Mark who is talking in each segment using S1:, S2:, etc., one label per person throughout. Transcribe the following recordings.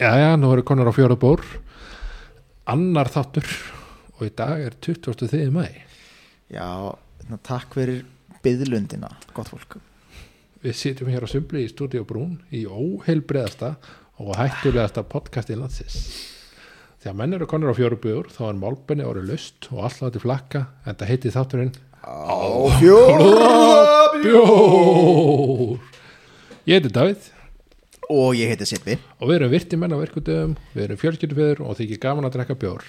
S1: já, já, nú eru konar á fjóra bór annar þáttur og í dag er 23. mæ
S2: Já, na, takk fyrir byðlundina, gott fólk
S1: við sitjum hér á Sumbli í Stúdíu Brún í óheilbreðasta og hættulegasta podcasti landsins þegar menn eru konar á fjóra bór þá er málbenni orðið lust og alltaf til flakka en það heiti þátturinn
S2: Ó, fjóra
S1: Bjór ég heiti Davíð
S2: Og ég heiti Sippi
S1: og við erum virti menn á verkudöfum við erum fjölskyldufeður og þykir gaman að drekka bjór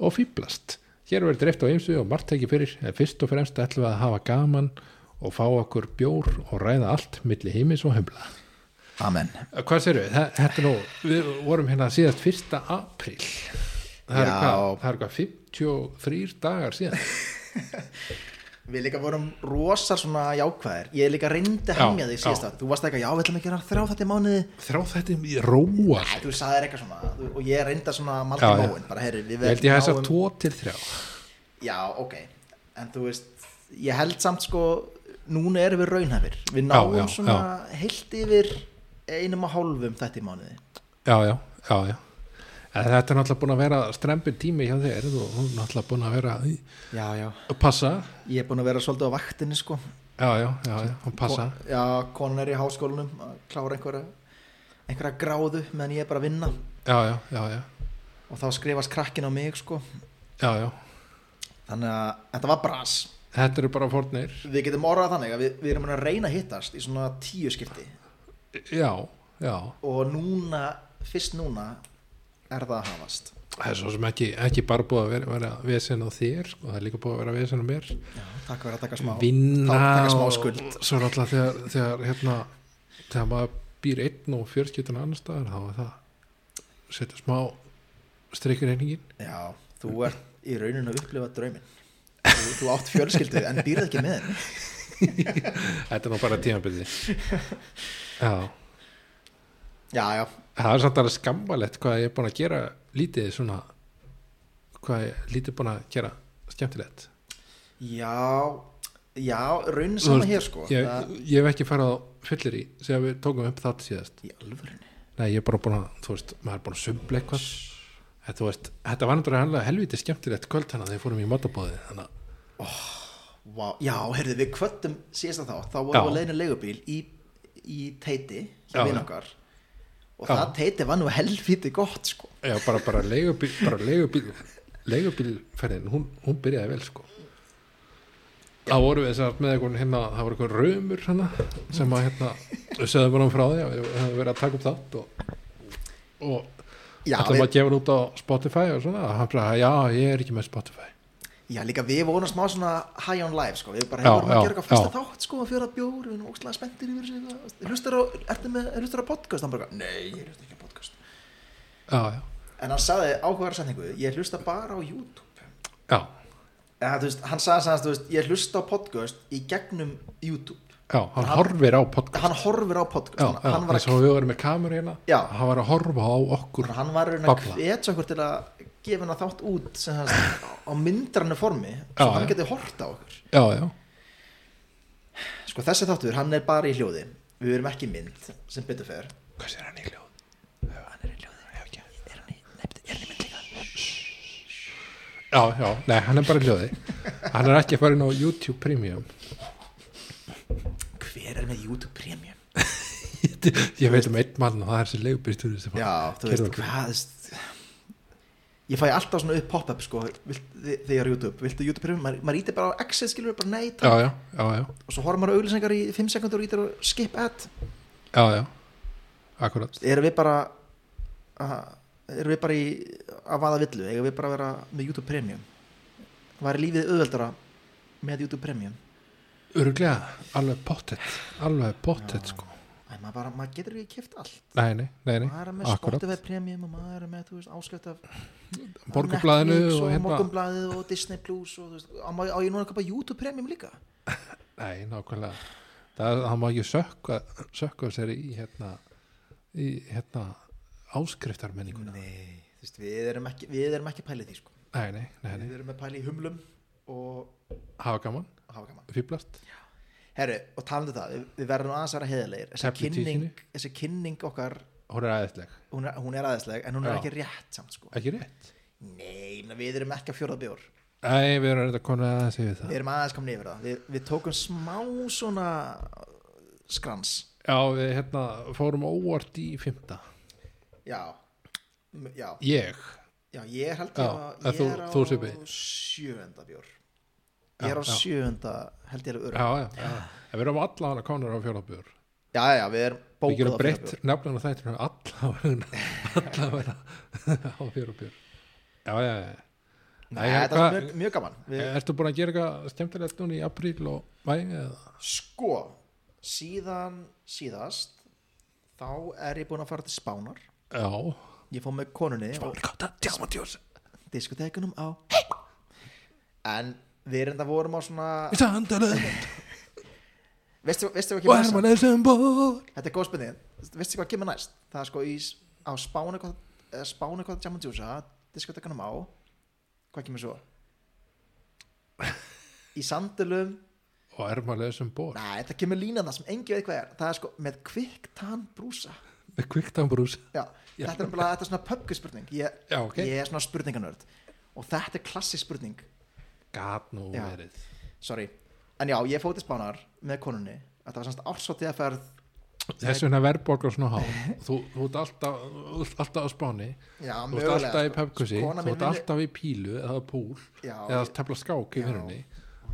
S1: og fýblast hér verður dreift á ymsu og margt ekki fyrir en fyrst og fremst ætlum við að hafa gaman og fá okkur bjór og ræða allt milli heimis og heimla
S2: Amen
S1: Eh, hvað sér við, Þa- þetta er nú við vorum hérna síðast fyrsta april það er
S2: Já.
S1: hvað, það er hvað 53 dagar síðan
S2: Við líka vorum rosar svona jákvæðir Ég líka reyndi að
S1: Já,
S2: hemja þig síðast
S1: já.
S2: að Þú varst eitthvað, já, við ætlum að gera þrjá þetta í mánuði
S1: þrá þetta í róa
S2: Æ, Þú sagðir eitthvað svona þú- Og ég reyndi að svona malda
S1: Já, já.
S2: móin Bara, heyri, við
S1: ég held ég að þessar
S2: náum-
S1: 2 til 3
S2: Já, ok En þú veist, ég held samt sko Núna erum við raunhæfir Við náum
S1: já,
S2: svona heilt yfir einum og hálfum þetta í mánuði
S1: já, já, já, já. En þetta er náttúrulega búin að vera strempin tími hjá þér þú þú er náttúrulega búin að vera í-
S2: Já, já
S1: að passa
S2: Ég er búin að vera svolítið á vaktinni sko
S1: já, já, já, já, og passa
S2: Ko- Já, konan er í háskólanum að klára einhverja einhverja gráðu meðan ég er bara að vinna
S1: já, já, já, já,
S2: og þá skrifast krakkin á mig sko
S1: já, já.
S2: þannig að þetta var bras
S1: þetta eru bara fornir
S2: Við getum orðað þannig að við, við erum að reyna að hittast í svona tíu skipti
S1: já, já,
S2: og núna, fyrst núna er það að hafast
S1: það er svo sem ekki, ekki bara búið að vera, vera vesen á þér sko, það er líka búið að vera vesen á mér
S2: já, Takk fyrir að taka smá
S1: vinna
S2: þá taka smá
S1: og-
S2: skuld
S1: svo er alltaf þegar, þegar hérna, þegar maður býr einn og fjörskiptun annar staðar þá er það setja smá streikur einingin
S2: Já, þú ert í rauninu að upplifa drauminn þú, þú átt fjölskyldu en býrð ekki með henni
S1: Þetta er nú bara tímabili Já,
S2: Já, já,
S1: það er samt alveg skammalegt hvað ég er búin að gera lítið svona hvað ég er lítið búin að gera skemmtilegt
S2: Já, já, raunin
S1: Þú
S2: sama
S1: veist,
S2: hér sko
S1: ég,
S2: Það-
S1: ég hef ekki farið á fyllir í sem við tókum upp þátt síðast
S2: Í alvörinu
S1: Nei, ég er bara búin að, þú veist, maður er búin að sumbla eitthvað En þú veist, þetta var náttúrulega helviti skemmtilegt kvöld þannig að þeir fórum í matabóði þannig að
S2: Vá, Já, heyrðu, við kvöttum síðast að þá Þá
S1: Já.
S2: vorum við leiðinu leigubíl í, í teiti
S1: Já,
S2: hjá vinn
S1: já.
S2: okkar Og
S1: Já.
S2: það teiti var nú helfíti gott sko
S1: Já, bara, bara leigubíl, bara leigubíl leigubílferðin, hún, hún byrjaði vel sko þá vorum við sem sagt með einhvern hérna, það voru einhvern raumur hérna, sem að hérna við sögðum bara um frá því að við hefum verið að taka upp þátt og, og
S2: Já,
S1: ætlum að
S2: við,
S1: gefa hann út á Spotify og svona, og hann bara, já, ég er ekki með Spotify
S2: já, líka við vorum smá svona high on life sko Við bara
S1: Já,
S2: hefum að
S1: já,
S2: gera eitthvað fyrsta
S1: já.
S2: þátt sko Fjóra bjór, við erum ókslega spenntir yfir sig Hlustar á, ertu með, hlustar á podcast? Hann bara, nei, ég hlustar ekki á podcast
S1: já, já,
S2: En hann sagði áhugaðar setningu Ég hlusta bara á YouTube
S1: já,
S2: Ja, þú veist, hann sagði sagðist, þú veist, ég hlusta á podcast í gegnum YouTube
S1: já hann horfir á podcast
S2: hann horfir á podcast
S1: já,
S2: hann,
S1: já,
S2: hann var
S1: eins og við vorum með kameru hérna
S2: Já.
S1: hann var að horfa á okkur
S2: að hann var raun að
S1: Babla.
S2: hvetja okkur til að gefa hann þátt út sem hans, á myndrannu formi svo
S1: Já,
S2: hann
S1: já.
S2: geti hort á okkur
S1: já, já,
S2: sko þessi þáttur, hann er bara í hljóði við erum ekki í mynd sem betur fer
S1: hvað sér hann í hljóð?
S2: hann er í hljóði er hann í, nei, er hann í mynd líka
S1: Já, já, nei, hann er bara í hljóði Hann er ekki að fara inn á YouTube Premium
S2: hver er með YouTube Premium
S1: Ég veit um einn mann og það er sér leigubýrstur sem
S2: já, þú veist, hvað þú veist, ég fæ alltaf svona upp pop-up sko, vilt, þi- þegar YouTube, viltu YouTube Premium maður, maður ítir bara á exit, skilur bara nei takk.
S1: já, já, já, já,
S2: og svo horfum maður á auglýsingar í 5 sekundur og ítir og skip ad
S1: já, já. Akkurat
S2: erum við bara að- erum við bara í að vaða villu, eigum við bara að vera með YouTube Premium var lífið auðveldara með YouTube Premium
S1: Öruglega, alveg pottet Alveg pottet, sko
S2: Æ, maður, bara, maður getur ekki kæft allt
S1: Nei, nei, nei, nei,
S2: maður er með
S1: akkurat
S2: Spotify Premium og maður er með þú veist, áskjöft af
S1: Borgarblaðinu
S2: Netflix
S1: og
S2: og
S1: hérna
S2: Morgunblaðið og Disney Plus og, þú veist, á, má- á ég núna að köpa YouTube Premium líka
S1: Nei, nákvæmlega Það, er- það má ekki sökka sökka sér í hérna í hérna áskriftarmenninguna
S2: nei, þú veist, við erum ekki við erum ekki pælið því sko
S1: Nei, nei, nei, nei,
S2: við erum með pælið í humlum og
S1: hafa gaman,
S2: hafa gaman
S1: fýblast
S2: Herru, og talandi um það, við, við verðum aðeins að vera heiðarlegir þessi
S1: Tefli
S2: kynning,
S1: tíkinni.
S2: þessi kynning okkar
S1: hún er aðeinsleg,
S2: hún er, hún er aðeinsleg en hún er
S1: Já.
S2: ekki rétt samt sko
S1: ekki rétt
S2: nei, ég meina, við erum ekki að fjóra bjór
S1: Æ, við erum reynda konar að segja það
S2: við erum aðeins komin yfir það við, við tókum smá svona uh, skrans
S1: Já, við hérna fórum óvart í fymta
S2: já, M- já,
S1: Ég,
S2: já ég held
S1: Já,
S2: ég, að-
S1: en
S2: ég
S1: þú-
S2: er á
S1: þú Sibbi.
S2: sjöunda bjór
S1: Já,
S2: ég er á
S1: já.
S2: sjöunda held ég er öru já.
S1: já, já, já.
S2: Ah.
S1: En Við erum allan að konar á fjólabjör
S2: já, já, við erum
S1: Við
S2: bókuð
S1: gerum
S2: á
S1: breytt
S2: fjórabjór
S1: nefnum þættinu allan að vera á fjólabjör Já, já, já
S2: Nei,
S1: Nei,
S2: þetta
S1: hvað-
S2: er mjög, mjög gaman við,
S1: Ertu búin að gera eitthvað skemmtilegt núna í apríl og væg eða?
S2: sko, síðan síðast þá er ég búin að fara til Spánar
S1: Já
S2: ég fór með konunni og-
S1: Bálkáta, djámatjós
S2: diskotekunum á en við erum það vorum á svona
S1: Í sandalu
S2: veistu, veistu hvað
S1: og
S2: kemur næst
S1: hermann eða bór
S2: þetta er góð spurning, veistu hvað kemur næst það er sko í, s- á spánu eitthvað- eða spánu eitthvað Jam and Juice diskotekunum á hvað kemur svo í sandulum
S1: Og hermann eða bór
S2: næ, þetta kemur línan það sem engi veit hvað er það er sko með kviktan brúsa
S1: Með kviktambrús
S2: Já, þetta er bara þetta er svona pöpkuspurning ég,
S1: Já, ok.
S2: ég er svona spurninganörd og þetta er klassisk spurning
S1: Gat nú
S2: Já.
S1: verið
S2: sorry en já, ég fótið spánar með konunni þetta var semst ársóttið að ferð
S1: Þess vegna verðbólgar svona há Þú, þú ert alltaf, þú ert alltaf á spáni
S2: já,
S1: Þú ert alltaf í
S2: sko.
S1: pöpkusi,
S2: Kona
S1: þú
S2: mín
S1: ert
S2: vinnur-
S1: alltaf í pílu eða púl
S2: Já,
S1: eða
S2: ég-
S1: tefla skák í
S2: Já.
S1: vinnunni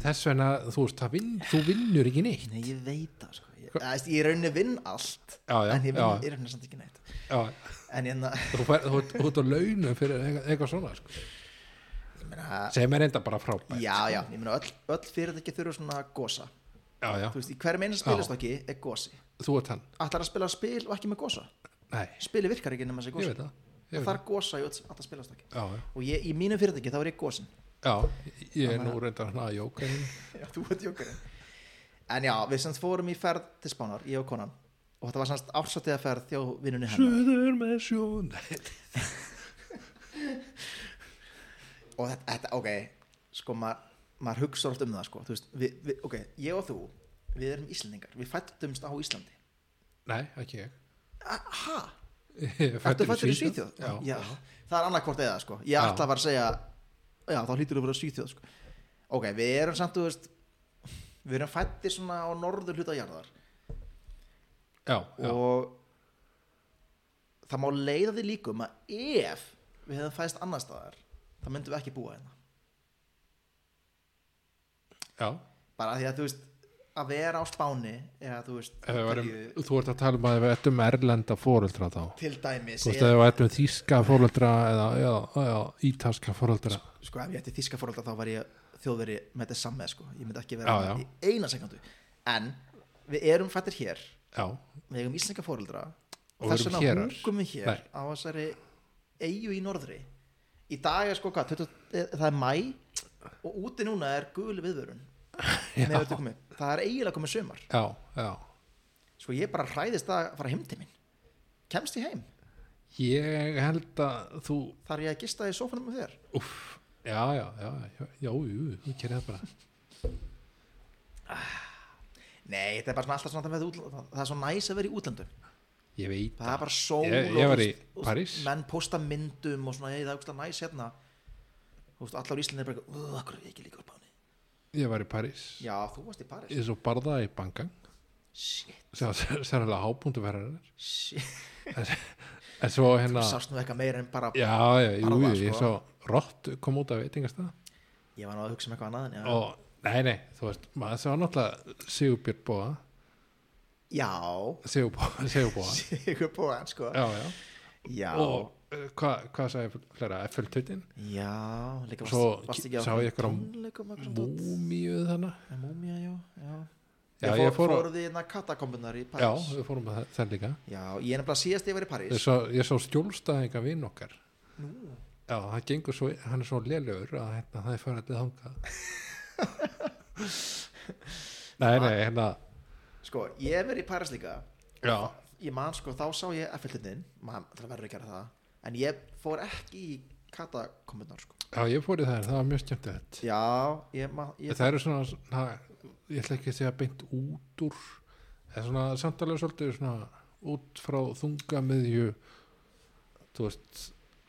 S1: Þess vegna, þú veist, það vinn, þú vinnur ekki neitt
S2: nei, ég veit það sko. ég, eða, veist, ég raunin vinn allt
S1: Já, já,
S2: en ég
S1: já.
S2: vinn, ég raunin samt ekki neitt
S1: Já,
S2: en hérna, ég, na-
S1: þú fær, þú ert- þú ert á launum fyrir eitthvað, eitthvað svona sko.
S2: ég meina
S1: sem er enda bara frábært
S2: já, já, ég meina öll, öll fyrirtæki þurfa svona gosa
S1: sko. já, já.
S2: þú veist, í hverjum einu spilastokki er gosi
S1: þú ert hann
S2: allar að spila spil og ekki með gosa
S1: Nei,
S2: spili virkar ekki nema þessi
S1: ég
S2: gosa
S1: veit það, ég
S2: Sko, það
S1: veit það.
S2: þarf gosa í öll, allar spilastokki
S1: Já, já.
S2: og ég, í mínum fyrirtæki þá er ég gosin
S1: já, ég er nú reyndar hann að jóka hérna.
S2: Já, þú ert jókurinn En já, við semst fórum í ferð til Spánar, ég og konan Og þetta var semst ársatiða ferð þjó vinnunni hennar
S1: Suður með sjón Nei,
S2: Og þetta, þetta ok, sko maður maður hugsa oft um það sko Þú veist, við, við, ok, ég og þú, við erum Íslendingar Við fættumst á Íslandi
S1: Nei, ekki ég
S2: Aha,
S1: Ég er
S2: ertu
S1: fæddur
S2: fættur í Svíþjóð?
S1: Já, já.
S2: það er annað hvort eða sko Ég
S1: Já.
S2: ætla að fara að segja, já, þá hlýtur þú að vera Svíþjóð sko Ok, við erum samt, þú veist Við erum fættir svona á norður hluta jarðar
S1: já,
S2: og það má leiða því líkum að ef við hefðum fæðist annar staðar þá myndum við ekki búa hérna
S1: já.
S2: bara af því að þú veist að vera á Spáni eða þú veist
S1: Ef við Varum,
S2: Ítalíu
S1: þú ert að tala um að við ættum erlenda fóreldra þá
S2: til dæmis
S1: Þú veist
S2: eða,
S1: að það vætum þýska fóröldra eða, eða, eða ítalska fóröldra
S2: sko ef ég ætti þíska fórhalda þá var ég þjóðveri með þetta samme sko ég myndi ekki vera
S1: Já, já.
S2: í eina sekundu en við erum fættir hér
S1: Já,
S2: við eigum íslenska fórhalda og,
S1: Og
S2: þess
S1: erum
S2: vegna
S1: hérar.
S2: húkum við hér
S1: Nei.
S2: á þessari eigu í norðri í dag er sko hvað 20, eh, það er mæ og úti núna er gul viðvörun með öllu komið. það er eiginlega komið sömar
S1: já, já
S2: sko ég bara hræðist það að fara heim til mín kemst ég heim,
S1: Ég held að þú
S2: þar ég að gista í sófanum með þér
S1: Úff, já, já, já Já, já, jú, þú gerir það bara
S2: nei, þetta er bara svona alltaf svona það, með útl- það er svo næs að vera í útlöndum
S1: Ég veit
S2: það er bara sól
S1: Ég-
S2: og
S1: ég var
S2: þú
S1: í
S2: veist, og
S1: París.
S2: menn posta myndum og svona, ég, það er ógeðslega næs hérna Þú veist, allar í Íslandi er bara eitthvað, "Ugh, af hverju er ég ekki líka á báni
S1: Ég var í París
S2: já, þú varst í Paris
S1: Ég er svo barða í bankan
S2: shit
S1: sem sérlega hábúndu verðarinnar
S2: Shit,
S1: En svo hérna
S2: sást nú eitthvað meira en bara
S1: Já, já, jú,
S2: Barða,
S1: ég
S2: sko.
S1: svo Rott kom út af veitingastæða
S2: Ég var nú að hugsa um eitthvað annað en já.
S1: og nei, nei, þú veist, maður svo náttúrulega Sigurbjörn Bóa
S2: já,
S1: Sigurbóa, Sigurbóa
S2: sigur búan sko
S1: Já, já,
S2: Já,
S1: og uh, hvað hva sagði flera FL-tutin
S2: já líka
S1: Svo
S2: varst, varst ekki á
S1: sá ég eitthvað á
S2: tónleikum eitthvað svona
S1: múmíuð þannig
S2: dót? Múmia, já, já.
S1: Já,
S2: ég
S1: ég fór
S2: fór,
S1: á-
S2: fór því innan katakombunar í
S1: já,
S2: París já.
S1: við fórum að það- það líka
S2: ég er nefnilega síðast ég var í
S1: ég
S2: París
S1: sá, ég sá skjólstæðinga vinn okkar já, það gengur svo hann er svo lélugur að hérna, það er farið til þangað nei, nei, hérna
S2: Sko, ég hef verið í París líka
S1: já,
S2: Ég man sko, þá sá ég Eiffeltindin Man, það verður ekki að gera það En ég fór ekki í katakombunar sko
S1: já, ég fór í þær, það var mjög skemmtilegt
S2: Já, ég, man, ég
S1: það eru svona, na, ég ætla ekki að segja beint út úr það er svona samtalið svolítið svona út frá þunga miðju þú veist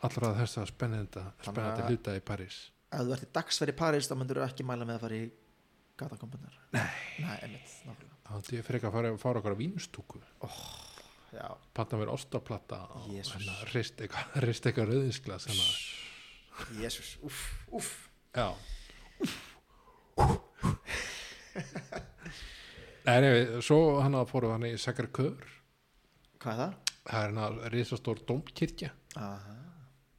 S1: allra þessa spennenda
S2: Þannig
S1: spennandi
S2: að-
S1: hluta í París
S2: ef þú ert í dagsferð í París þá myndur þú ekki mæla með að fara í gatakombunar nei, nei einmitt, nákvæmlega.
S1: þá ætti ég frekar að fara, fara okkar á vínstúku
S2: já,
S1: panna mér ostaplata og
S2: Jesús.
S1: hérna, rist eitthvað rist eitthvað rauðinsglas hérna.
S2: jésus, uff, uff
S1: já Nei, nei, svo hann að fóru hann í Sakarkör
S2: hvað er það?
S1: það er hann að risastór domkirkja
S2: Aha.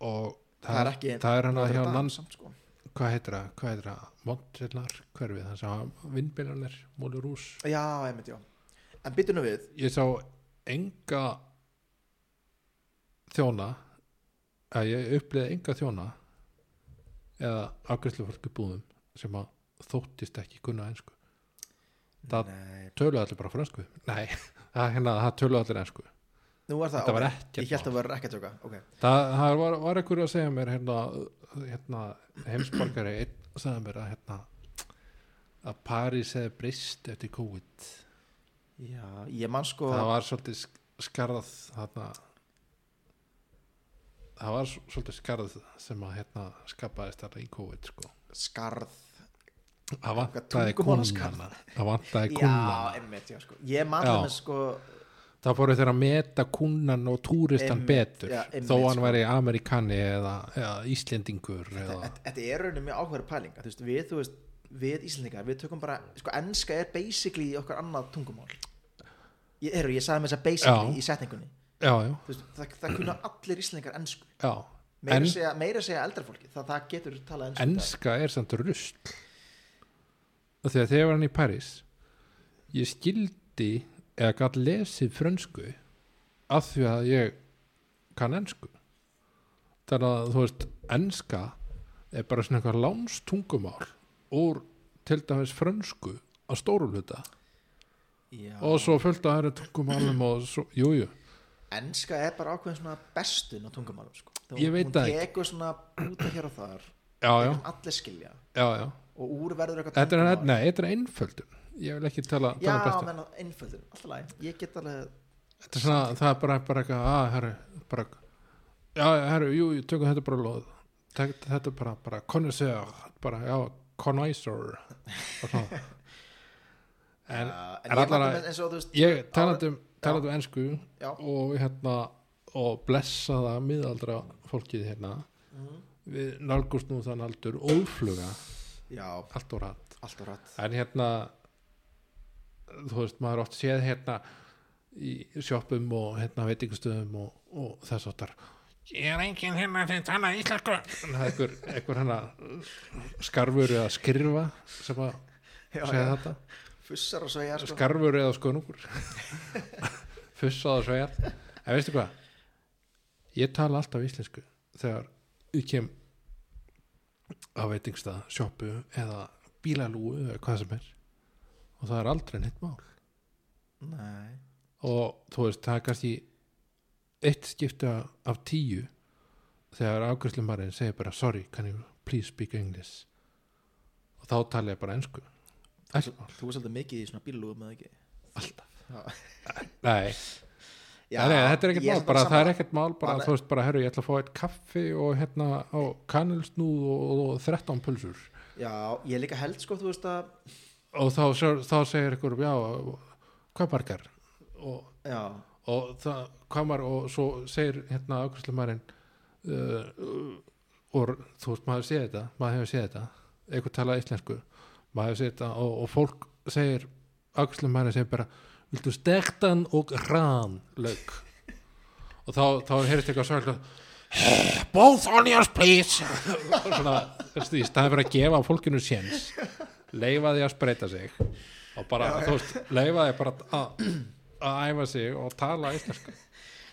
S1: og
S2: það er ekki
S1: það er hann að Hérna hjá
S2: Notre Dame
S1: lands
S2: samt, sko.
S1: hvað heitir það, hvað heitir það Montrenar, hverfið, þannig að vindbyrjanir, Mólurús
S2: já, einmitt, já en byttu nú við,
S1: ég sá enga þjóna að ég upplýði enga þjóna eða afgjörslu fólki búðum sem að þóttist ekki kunna einsku Það-
S2: nei,
S1: töluðu allir bara fransku nei, það, hérna, það töluðu allir einsku
S2: nú var það
S1: þetta var
S2: ok.
S1: ekkert
S2: ég held
S1: mál.
S2: að vera ekki að tjóka ok,
S1: það, það var, var ekkur að segja mér hérna, hérna heimsborgari einn sagði mér að hérna að París hefði breyst eftir COVID
S2: já, ég man sko
S1: það var svolítið sk- skarð hérna það var s- svolítið skarð sem að hérna skapaðist þarna í COVID sko
S2: skarð
S1: það vantaði
S2: tungumálaskarð.
S1: kunnana það vantaði
S2: já,
S1: kunnana
S2: einmitt, já, sko ég man
S1: Já.
S2: það með sko
S1: það fóru þeir að meta kunnan og túristan
S2: Einmitt,
S1: betur
S2: já, einmitt,
S1: þó hann
S2: sko.
S1: væri amerikani eða, eða Íslendingur eða,
S2: þetta þetta er rauninni mjög áhverju pæling að, þú veist, við, þú veist, við Íslandingar við tökum bara, sko, enska er basically okkar annað tungumál ég, eru, ég sagði með þess að
S1: Já.
S2: basically í setningunni
S1: já, já,
S2: Þú veist, það, það kunna allir Íslandingar ensku
S1: já
S2: meira,
S1: en,
S2: segja, meira segja eldra fólki það, það getur talað ensku í dag.
S1: enska er samt rusl og þegar þegar ég var hann í París ég skildi eða gætt lesið frönsku af því að ég kann ensku þannig að þú veist enska er bara svona eitthvað lánstungumál úr til dæmis frönsku að stóru hluta
S2: Já.
S1: og svo fullt að það eru tungumálum og svo, jú, jú,
S2: enska er bara ákveðin svona bestun á tungumálum sko. Þú-
S1: Ég veit
S2: hún
S1: það ekki.
S2: tekur svona út hér og þar
S1: já, já,
S2: sem allir skilja
S1: já, já
S2: og úr verður eitthvað
S1: þetta er, hérna
S2: tungumál.
S1: nei, þetta er einföldun ég vil ekki tala,
S2: já,
S1: tala bestu
S2: menn einföldur, alltaf læg ég get alveg,
S1: þetta er svona, það er bara, bara eitthvað að, herru, bara já, herru, jú, jú, tökum þetta bara loð Tek, þetta er bara, bara, connoisseur bara, já, connoisseur og svona en
S2: uh,
S1: er
S2: en ég
S1: allar
S2: man
S1: að-
S2: það eins og þú veist
S1: ég talandi um, talandi um ensku
S2: já,
S1: og hérna og blessaða miðaldra fólkið hérna
S2: Mhm.
S1: við nálgust nú þann aldur ófluga
S2: já,
S1: allt og rætt
S2: alltaf rætt
S1: en hérna þú veist maður oft séð hérna í sjoppum og hérna veitingastöðum og, og þess áttar ég er enginn hérna sem tala íslensku En það er einhver, einhver hérna skarfur eða skrifa sem að
S2: Já,
S1: segja
S2: já.
S1: þetta
S2: fussar og segja sko.
S1: skarfur eða skönungur fussað og svegar en veistu hvað ég tala alltaf íslensku þegar ég kem á veitingstað, sjoppu eða bílalúu eða hvað sem er og það er aldrei neitt mál
S2: nei,
S1: og þú veist, það er kannski eitt skipta af tíu þegar afgjörslumarinn segir bara sorry, can you please speak English og þá tala ég bara ensku Ekkert mál,
S2: þú er svolítið mikið í svona bílugum eða ekki
S1: alltaf nei nei, nei, þetta er ekkert
S2: ég
S1: mál,
S2: samt
S1: bara, það er
S2: sammála.
S1: ekkert mál bara,
S2: Bara-
S1: þú veist, bara, herru, ég ætla að fá eitt kaffi og hérna, og kanilsnúð og, og, og 13 pulsur
S2: já, ég líka held sko, þú veist að
S1: og þá, þá, þá segir ykkur, já, hvað margar og,
S2: já,
S1: og það, hvað margar og svo segir hérna ákvæmstumærin uh, og þú veist, maður séð þetta maður hefur séð þetta, eitthvað talað íslensku maður hefur séð þetta og, og fólk segir, ákvæmstumærin segir bara viltu stektan og rán lög og þá, þá heyrist eitthvað svo eitthvað both onions please Og svona, þessi, í staði fyrir að gefa fólkinu séns leifa því að spreita sig og bara, þú veist, leifa því bara að, að æfa sig og tala íslensku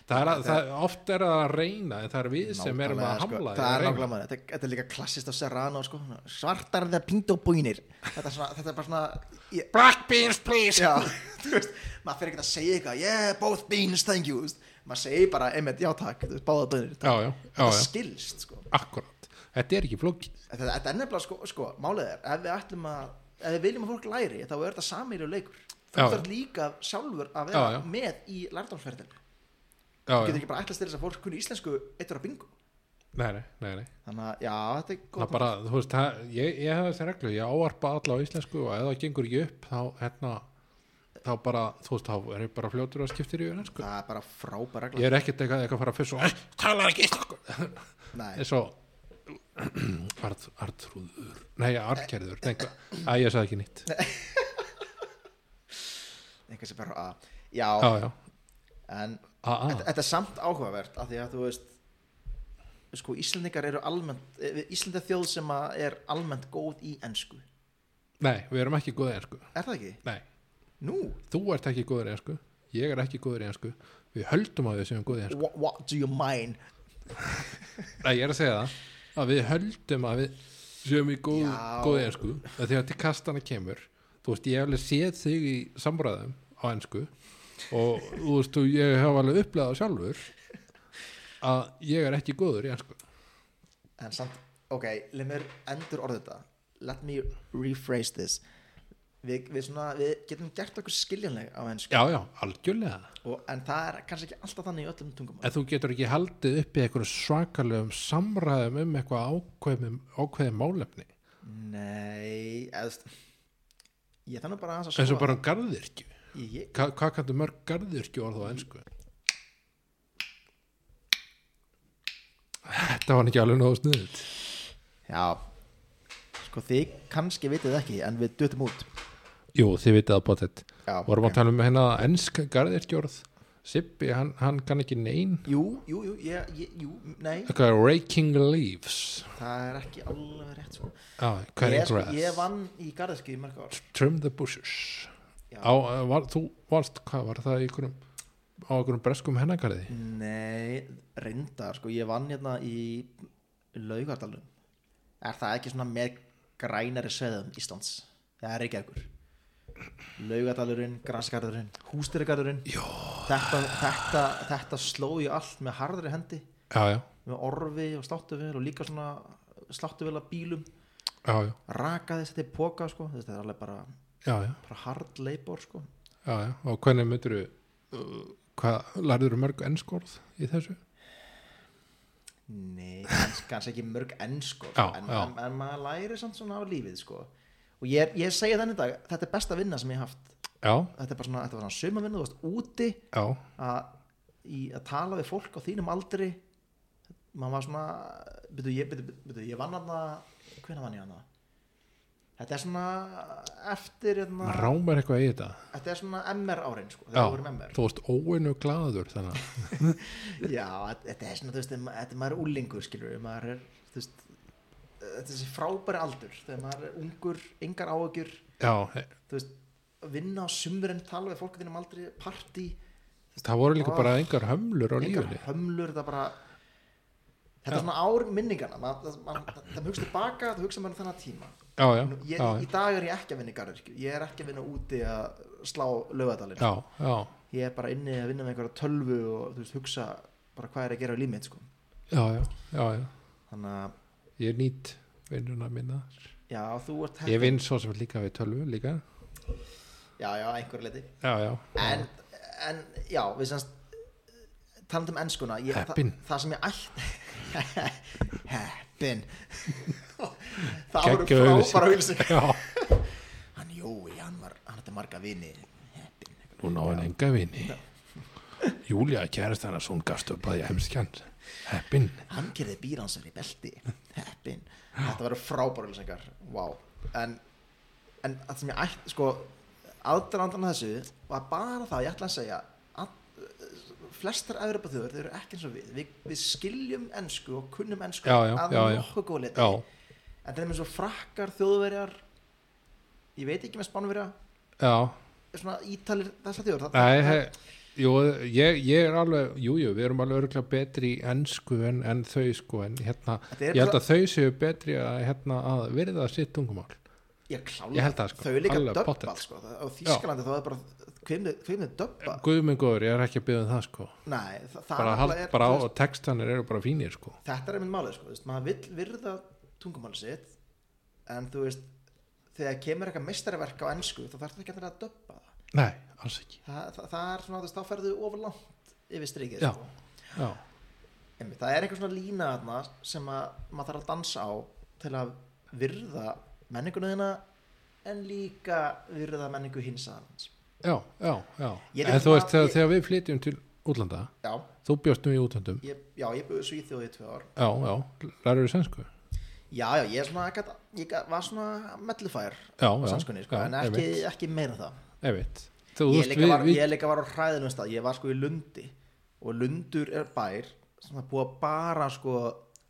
S1: það er að, það, oft er það að reyna en það er við sem erum
S2: nákvæmlega,
S1: að hamla
S2: sko,
S1: því
S2: það
S1: að
S2: er
S1: reyna.
S2: nákvæmlega maður, þetta, þetta er líka klassist á Serrano sko, svona, svartar þegar pínt og búinir þetta er, svona, þetta er bara svona ég,
S1: black beans please
S2: já, þú veist, maður fyrir ekki að segja eitthvað yeah, both beans, thank you þú veist. maður segir bara, einmitt, já takk, þú veist, báða bönir
S1: já, já, já,
S2: þetta
S1: já,
S2: skilst sko.
S1: akkurat þetta er ekki flókin
S2: þetta, þetta er nefnilega, sko, sko, málið er ef við ætlum að, ef við viljum að fólk læri þá er þetta samýri leikur þú
S1: Já.
S2: þarf líka sjálfur að vera
S1: Já, já.
S2: með í lærdámsferðin þú
S1: já,
S2: getur
S1: já,
S2: ekki bara ætlast til þess að fólk kunni íslensku eittur að bingo
S1: nei, nei, nei, nei.
S2: þannig að já, þetta er
S1: það
S2: góð
S1: bara, þú veist, það, ég, ég hef þessi reglu ég ávarpa alla á íslensku og ef það gengur ekki upp þá, hérna þá bara, þú veist, þá er ég bara fljótur að skiptir í öðrensku,
S2: það er bara frábær regla
S1: ég er ekkert eitthvað, eitthvað að fara fyrst og "Æ, talar ekki íslensku
S2: Nei,
S1: eins og Art, Artrúður, nei, Artgerður nei, hvað- Æ, ég sagði ekki nýtt
S2: einhvers er bara að já,
S1: já, já, Ah,
S2: en
S1: a, a,
S2: þetta, þetta er samt áhugavert af því að þú veist sko, Íslendingar eru almennt Íslenda þjóð sem að er almennt góð í ensku,
S1: nei, við erum ekki góðið einsku
S2: er það ekki?
S1: nei,
S2: Nú,
S1: þú ert ekki góður í einsku ég er ekki góður í einsku við höldum að við séum góðið einsku
S2: what, what do you mind?
S1: nei, ég er að segja það að við höldum að við séum í góð,
S2: Já.
S1: góðið einsku þegar til kastana kemur þú veist, ég hef alveg séð þig í samræðum á einsku og þú veist, og ég hef alveg upplegað það sjálfur að ég er ekki góður í einsku
S2: En samt, ok, leið mér endur orðið þetta Let me rephrase this Við, við, svona, við getum gert okkur skiljanleg á ensku
S1: já, já, algjörlega
S2: og, En það er kannski ekki alltaf þannig í öllum tungumál
S1: En þú getur ekki haldið upp í einhverju svakalegum samræðum um eitthvað ákveðum, ákveðum málefni
S2: Nei, eðst Ég þannig bara aðeins að
S1: eins og
S2: skoða
S1: bara um garðirkju
S2: Ég,
S1: Hva, hvað kanntu mörg garðirkju orð á ennsku? Þetta var ekki alveg nógu sniðut
S2: Já Sko þið kannski vitið ekki en við dutum út
S1: Jú, þið vitið að bótt þetta
S2: Já,
S1: Vorum
S2: ok.
S1: að tala um hérna ennsk garðirkju orð Sippi, hann, hann kann ekki nein
S2: Jú, jú, jú, ég, ég, jú, nei
S1: Eitthvað raking leaves
S2: Það er ekki alveg rétt sko
S1: ah,
S2: Ég,
S1: Cutting
S2: sko, ég
S1: grass
S2: vann í garðiski í mörg ár
S1: Trim the bushes
S2: Já.
S1: á, eh, var, Þú varst, hvað var það í einhverjum á einhverjum breskum hennagarði
S2: Nei, reyndar sko Ég vann hérna í Laugardalum Er það ekki svona með grænari sveðum Íslands? Það er ekki ekkur Laugardalurinn, Grasgarðurinn, Hústyrgarðurinn þetta, þetta, þetta sló ég allt með harðri hendi
S1: já, já,
S2: með orfi og sláttuvel og líka svona sláttuvel að bílum
S1: já, já,
S2: rakaði þetta í póka sko. þetta er alveg bara,
S1: já, já,
S2: bara hard labor sko.
S1: já, já. og hvernig myndir hvað, lærður mörg ennskorð í þessu?
S2: nei, kannski, kannski ekki mörg enn sko,
S1: Já,
S2: en,
S1: já.
S2: En, en maður læri samt svona á lífið sko. og ég, er- ég segja þannig í dag þetta er besta vinna sem ég hef haft
S1: Já,
S2: þetta er bara svona, þetta var svona sumavinna, þú varst úti
S1: já,
S2: að, í, að tala við fólk á þínum aldri maður var svona byrju, ég, byrju, byrju, ég vann hana hvenær vann ég hana þetta er svona eftir hérna,
S1: maður rámar eitthvað í þetta
S2: þetta er svona MR árin sko,
S1: Já,
S2: þegar við vorum MR
S1: þú varst óinu glaður þannig að-
S2: já, þetta er svona, þú veist, ma- þetta er maður er úlingur skilur, maður er þú veist, eh, þetta er þessi frábæri aldur þegar maður er ungur, engar áökjur
S1: Já, eh,
S2: þú veist, vinna á sumurinn tala við fólk á þínum aldri, partí
S1: það voru líka
S2: Ó.
S1: bara engar hömlur á
S2: engar
S1: lífinni
S2: hömlur það bara þetta er svona ár minningana ma, það, ma, það, það hugsa tilbaka, það hugsa maður þannig tíma
S1: Já, já,
S2: Nú, ég,
S1: já,
S2: í dag er ég ekki að vinna í garðirkju ég er ekki að vinna úti að slá lögadalinn
S1: já, já,
S2: ég er bara inni að vinna með einhverja tölvu og þú veist, hugsa bara hvað er að gera í límið sko.
S1: já, já, já, já.
S2: þannig að,
S1: ég nýtt vinnuna minna
S2: já, þú ert
S1: ég vinn svo sem líka við tölvu líka
S2: já, já, einhverju leiti
S1: já, já, já,
S2: en, en, já, við semst talandi um ennskuna ég, það-
S1: Heppin.
S2: það sem ég ætti heppin það voru
S1: Geggjuð auglýsing.
S2: frábæra auðlýsing
S1: já.
S2: hann Jói, hann var, hann hætti marga vini heppin
S1: Hún á hann enga vini Júlia kærast hann að svo hún gafst upp að ég heimski hann Heppin
S2: hann gerði býransar í belti heppin, þetta verður frábárulsengar wow, en en það sem ég ætti, sko aðdrarandan að þessu var bara það ég ætla að segja að, eh, flestar Evropa þjóður, þau eru ekki eins og við við, við skiljum ensku og kunnum ensku
S1: Já, já,
S2: að
S1: já, já.
S2: nokkuð góð liti
S1: Já,
S2: en það er með svo frakkar þjóðverjar ég veit ekki með spánverja
S1: já
S2: svona ítalir þessar þjóður það-
S1: Nei,
S2: það-
S1: he, jú, ég, ég er alveg Jú, jú, við erum alveg örgulega betri í ennsku en, en þau sko en hérna,
S2: Þetta er
S1: ég held að þau séu betri að, hérna, að virða sitt tungumál
S2: Ég klála,
S1: Ég held það, sko.
S2: þau er líka
S1: Alveg
S2: döbbað
S1: pottet.
S2: sko. Það- á Þýskalandi þá er bara hvimni döbba
S1: Guðminn góður, ég er ekki að byggja um það sko
S2: Nei, það, það
S1: bara, hald,
S2: nefnilega er,
S1: bara á
S2: þú veist,
S1: og textanir eru bara fínir sko
S2: þetta er einmitt málið sko. þú veist, maður vill virða tungumáli sitt en þú veist þegar kemur eitthvað meistarverk á ennsku þá þarf þetta ekki endilega að döbba það
S1: nei, alls ekki
S2: það, það, það er svona, þú veist, þá ferðu ofurlangt yfir strikið
S1: Já.
S2: sko.
S1: já,
S2: Einmitt, það er eitthvað svona lína þarna sem að maður þarf að dansa á til að virða menninguna þína en líka virða menningu hins aðeins
S1: já, já, já.
S2: Ég er
S1: en
S2: ekki
S1: þú
S2: bara-
S1: veist, þegar,
S2: ég-
S1: þegar við flytjum til útlanda,
S2: já,
S1: þú bjóst nú í útlandum
S2: ég, já, ég búið svíþjóði í tvö ár
S1: já, já, lærur við sænsku
S2: já, já, ég, er svona, gat, ég gat, var svona mellufær
S1: já, já,
S2: sannskunni, sko,
S1: já,
S2: en ekki, ekki meira en það
S1: ég veit þú
S2: ég,
S1: veist,
S2: líka
S1: við,
S2: var,
S1: við,
S2: ég líka var á hræðinum stað ég var sko í Lundi og Lundur er bær sem það búa bara sko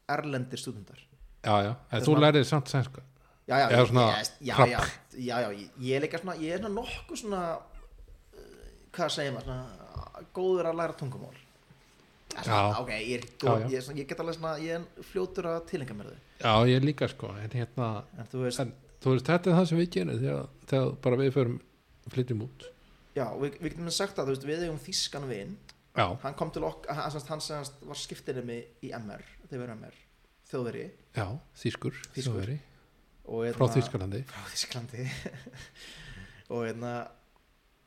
S2: erlendir stúdendar
S1: já, já, en
S2: Þetta
S1: þú
S2: var-
S1: lærið samt sænsku
S2: já, já,
S1: Eða
S2: ég-
S1: svona
S2: ég- já,
S1: krabb.
S2: já, já, já, ég- ég er líka svona ég er svona nokkuð svona uh, hvað segir maður, svona góður að læra tungumál Það er svona,
S1: Já.
S2: ok, ég er,
S1: Já,
S2: góð,
S1: já.
S2: Ég, er svona, ég get alveg svona ég er fljótur að tilenga mér þau
S1: já, ég líka sko, en hérna
S2: en þú veist,
S1: en, þú veist, þetta er það sem við gerum þegar, þegar bara við förum flytjum út
S2: já, við, við getum sagt að þú veist, við eigum þýskan vin
S1: já,
S2: hann kom til okk, hann, hann, hann, hann var skiptinni í MR, þegar við erum MR þjóðveri
S1: já, þýskur
S2: Þýskur.
S1: Þjóðverji,
S2: og
S1: frá
S2: hérna-
S1: Þýskalandi
S2: frá Þísklandi og hérna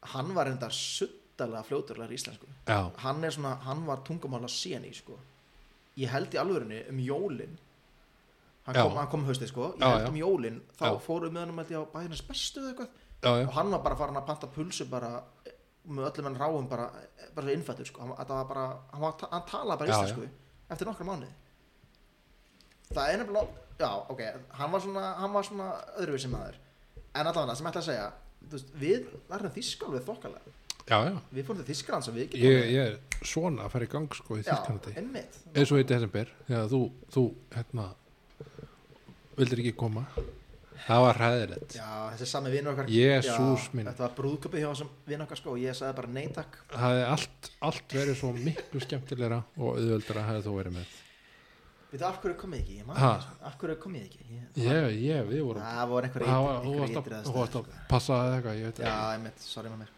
S2: hann var enda suttalega fljóturlega í íslensku
S1: já,
S2: hann er svona, hann var tungumála síni sko. ég held í alvörunni um jólin hann
S1: Já.
S2: kom, hann kom haustið sko ég
S1: Já,
S2: held
S1: já.
S2: um jólin, þá
S1: Já.
S2: fórum við hann held ég á bæðinans bestu eða eitthvað
S1: já, já,
S2: og hann var bara farin að panta pulsu bara eh, með öllum hann ráum bara, eh, bara innfættur sko, hann, þetta var bara, hann, var, ta- hann talaði bara
S1: Já,
S2: íslensku eftir nokkra mánuði það er nefnilega já, ok, hann var svona, hann var svona öðruvísi maður, en allavega sem ég ætla að segja, þú veist, við verðum þýskal við þokkalega,
S1: já, já
S2: við fórum til Þýskaland sem við getum
S1: ég, ég er svona að fara í gang sko í Þýskalandi
S2: já, einmitt,
S1: eins og í desember þegar þú, þú hérna vildir ekki koma það var hræðilegt
S2: já, þessi sami vinur okkar
S1: Jesús
S2: Já,
S1: minn.
S2: þetta var brúðköpi hjá þessum vinur okkar sko, og ég sagði bara neytak
S1: það hefði allt, allt verið svo miklu skemmtilegra og auðveldara hefði þú verið með
S2: við það af hverju komið ekki, ég man
S1: Ha.
S2: ekki, sko. af hverju komið ekki ég,
S1: ég, ég, við vorum
S2: það voru einhverja
S1: það
S2: ytri-
S1: var, þú varst að,
S2: einhverjar ytri aðstæður,
S1: þú varst
S2: sko.
S1: að passa eða eitthvað, ég veit
S2: Já,
S1: ekki
S2: einmitt, sorry maður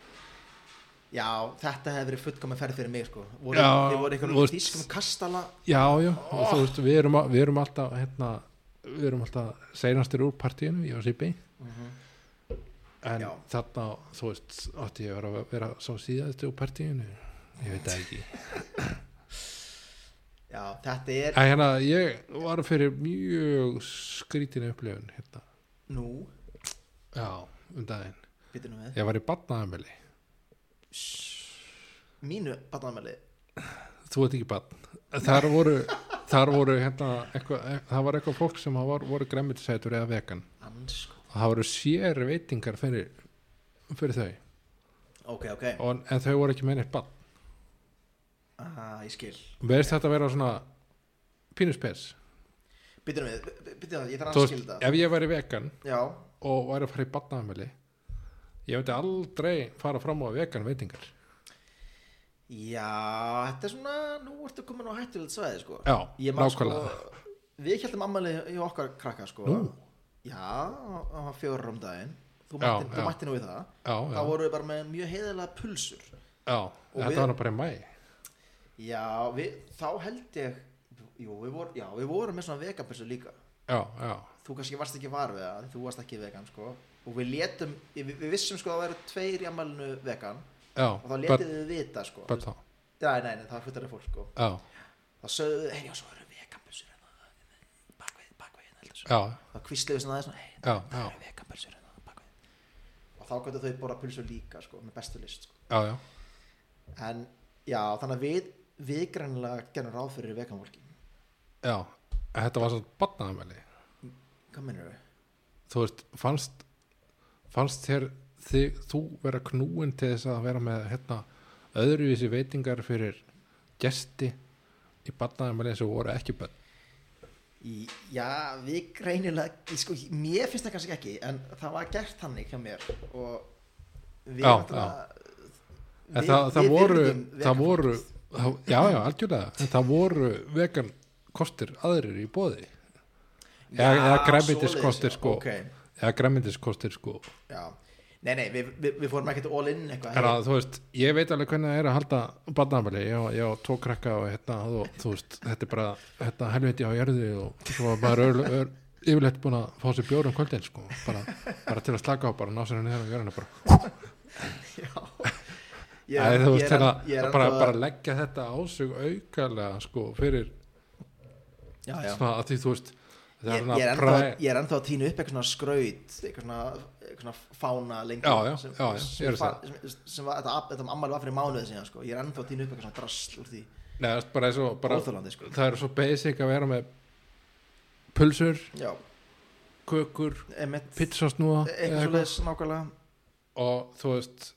S2: Já, þetta hefði verið fullkomin ferð fyrir mig sko voru,
S1: Já,
S2: Þið voru
S1: þú
S2: einhverjum
S1: veist-
S2: þýskum kastala
S1: já, já, og þú veist, við erum, að- við erum alltaf hérna, við erum alltaf seinastir úr partíinu, ég og Sipi Mhm. en
S2: Já.
S1: þarna, þú veist, átti ég að vera, vera sá síðast úr partíinu ég veit það ekki
S2: Já, þetta er
S1: Æ, hérna, ég var fyrir mjög skrítin upplifun hérna.
S2: Nú,
S1: Já, um daginn.
S2: býtum við
S1: Ég var í batnaðamili.
S2: Mínu batnaðamæli
S1: Þú veit ekki batn. Þar voru, þar voru hérna, eitthva, það var eitthvað fólk sem var, voru gremmitisætur eða vegan.
S2: Ansko
S1: Og það voru sér veitingar fyrir, fyrir þau.
S2: Ok, ok
S1: Og, en þau voru ekki með neitt batn.
S2: ah, Ég skil
S1: Verðist þetta vera svona pínuspes.
S2: Býtum við, býtum við, ég þarf
S1: Þú
S2: að
S1: veist,
S2: skilja það
S1: ef ég væri vegan
S2: Já,
S1: og væri að fara í batnaðamili, ég myndi aldrei fara fram á vegan veitingar.
S2: já, þetta er svona Nú ertu komin á hættulegt svæði sko
S1: Já,
S2: Ég man sko
S1: nákvæmlega.
S2: Við heldum ammæli í okkar krakka sko
S1: Nú.
S2: Já, það var fjórar um daginn Þú
S1: Já,
S2: mætti, þú
S1: já.
S2: mætti nú í það
S1: Já, já.
S2: þá voru við bara með mjög heiðalega pulsur
S1: Já, þetta
S2: við-
S1: var nú bara í mæ
S2: já, við, þá held ég jú, við voru, já, við vorum með svona vegapulsur líka
S1: Já, já,
S2: þú kannski varst ekki var við það, en þú varst ekki vegan sko. og við letum, við, við vissum sko að það væru tveir í ammælinu vegan
S1: já
S2: og þá
S1: but-
S2: letið við vita sko.
S1: but þá,
S2: já, nei, nei, það fullari fólk sko.
S1: Já,
S2: þá sögðu við, hérna, hei, já, svo eru veganpulsur bakvið, bakvið, heldur svo
S1: já,
S2: þá kvísluðu svona aðeins, hei,
S1: já, já,
S2: það eru veganpulsur bakvið hérna, og þá gætu þau borða pulsur líka sko, með bestu list sko.
S1: já, já
S2: en já, þannig að við við greinlega gerum ráð fyrir veganfólki
S1: Já, en þetta var svo batnaðamæli
S2: hvað minnur við?
S1: Þú veist, fannst fannst þér þig, þú vera knúin til þess að vera með hérna, öðruvísi veitingar fyrir gesti í batnaðamæli sem voru ekki bönn
S2: Í, já, við greinilega í, sko, mér finnst það kannski ekki en það var gert þannig hjá mér og við
S1: Já,
S2: náttúrulega-
S1: En það, það, voru,
S2: virðum
S1: það
S2: vegan
S1: voru
S2: fólk.
S1: það, Já, já, algjörlega En það voru vegan kostir aðrir í bóði
S2: Já,
S1: eða- eða grænmetiskostir,
S2: svoleiðis,
S1: sko.
S2: ok,
S1: eða græmyndiskostir sko
S2: já. nei, nei, við, við, við fórum ekkert all in eitthvað
S1: Er að, þú veist, ég veit alveg hvernig það er að halda barnafæli, ég, á- ég á tvo krakka og hérna, þú, þú veist, þetta er bara hérna, helviti á jörðu og svo var bara öll, öll, yfirleitt búin að fá sér bjór um kvöldin, sko, bara, bara til að slaka á, bara ná sér henni þegar á jörðina, bara,
S2: já, Ég
S1: Æ,
S2: er-
S1: þú
S2: ég
S1: veist
S2: er-
S1: hérna,
S2: ég er
S1: bara,
S2: ennþá-
S1: bara leggja þetta á sig aukarlega sko fyrir
S2: Já, já.
S1: svona að því þú veist það er
S2: Ég, ég, er
S1: svona
S2: ennþá,
S1: præ
S2: ég er ennþá að tína upp eitthvað svona skraut eitthvað svona, eitthvað svona fána lengi
S1: Já, já,
S2: sem,
S1: já, já, ég er
S2: sem,
S1: að
S2: fa- sem, sem var, þetta, þetta ammali var fyrir mánuði síðan sko. ég er ennþá að tína upp eitthvað svona drasl úr því
S1: Nei, það er bara svo, bara,
S2: óþjólandi sko.
S1: það er svo basic að vera með pulsur,
S2: já,
S1: kökur
S2: emitt
S1: pizzasnúða eða
S2: eitthvað svo leðis nákvæmlega
S1: og þú veist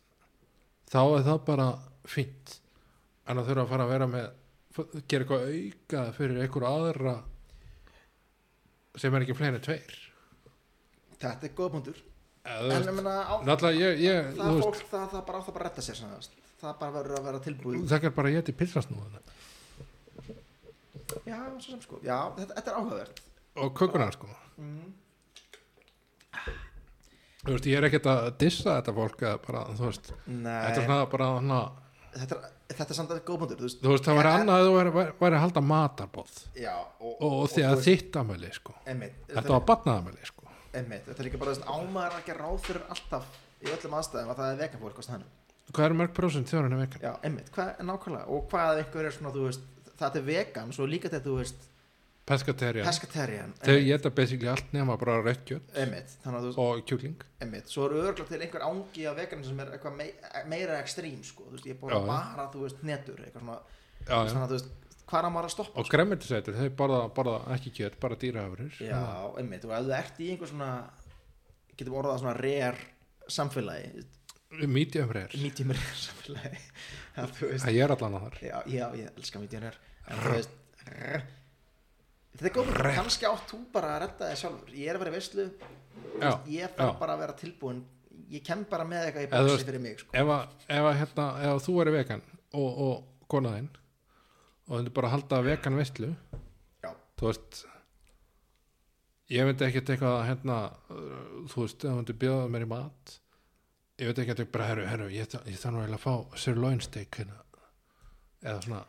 S1: þá er það bara fínt en að þurfa að fara að vera með gera eitthvað auka fyrir einhver aðra sem er ekki fleiri en tveir
S2: þetta er góða punktur
S1: eða, þú
S2: en
S1: veist,
S2: ég meina, á,
S1: náttúrulega ég, ég
S2: það
S1: þú
S2: er
S1: veist,
S2: fólk það, það bara á það bara að retta sér svona, þú veist. það bara verður að vera tilbúið
S1: það er bara að geta pilsasnúðan
S2: já, svo sem sko, já, þetta, þetta er áhugavert
S1: og kökunar sko
S2: mm.
S1: þú veist, ég er ekkert að dissa þetta fólk eða bara, þú veist, þetta er
S2: nei,
S1: svona bara hana,
S2: þetta er, þetta er samt að góða punktur þú veist,
S1: þú veist, það væri
S2: Ég-
S1: annað að þú væri, væri- væri að halda matarboð
S2: já, og,
S1: og, og því
S2: þú
S1: að
S2: veist,
S1: þitt amæli sko,
S2: einmitt,
S1: þetta var batnaðamæli sko
S2: Einmitt, þetta er líka bara þess að ámaður að gera ráð fyrir alltaf í öllum aðstæðum að það er vegan fólk á staðnum.
S1: hvað eru mörg prósent þjóðurinn er vegan?
S2: Já, einmitt, hvað er nákvæmlega og hvað ef einhver er svona, þú veist, það er vegan svo líka þetta, þú veist,
S1: Pescaterian
S2: pescatarian
S1: Þau geta basically allt nema bara rautt kjöt
S2: einmitt, þannig að þú veist,
S1: og kjúkling
S2: einmitt, svo eru örgla til einhver ángi af vegan sem er eitthvað mei, meira ekstrím, sko, þú veist, ég er búin
S1: Já,
S2: að
S1: já.
S2: bara, þú veist, netur, eitthvað svona,
S1: já, já.
S2: þannig að þú veist, hvað er að maður að stoppa?
S1: og gremmetisætur, þau borða, borða ekki kjöt bara Ah, dýraafurur
S2: Já, einmitt, og ef þú ert í einhver svona, getum orðað það svona rare samfélagi,
S1: mítjöfreyr,
S2: medium rare samfélagi, að þú veist,
S1: það ég er allan að þar
S2: já, já, ég elska mídjanur en þú veist rr. þetta er góð, kannski átt þú bara að redda þig sjálfur, ég er að vera í veislu
S1: Já,
S2: ég þarf
S1: já.
S2: bara að vera tilbúin ég kem bara með eitthvað í
S1: Eða þú
S2: bóksi
S1: veist-
S2: fyrir mig sko.
S1: ef, að, ef, að, hérna, ef að þú eru vegan og, og konaðinn og þú bara að halda vegan veistlu
S2: já,
S1: þú veist ég veit ekki eitthvað að hérna uh, þú veist, ef þú myndir bjóða mér í mat ég veit ekki að bara herru, herru ég, þa- ég þarf nú eiginlega að fá sirloin steak hérna. eða svona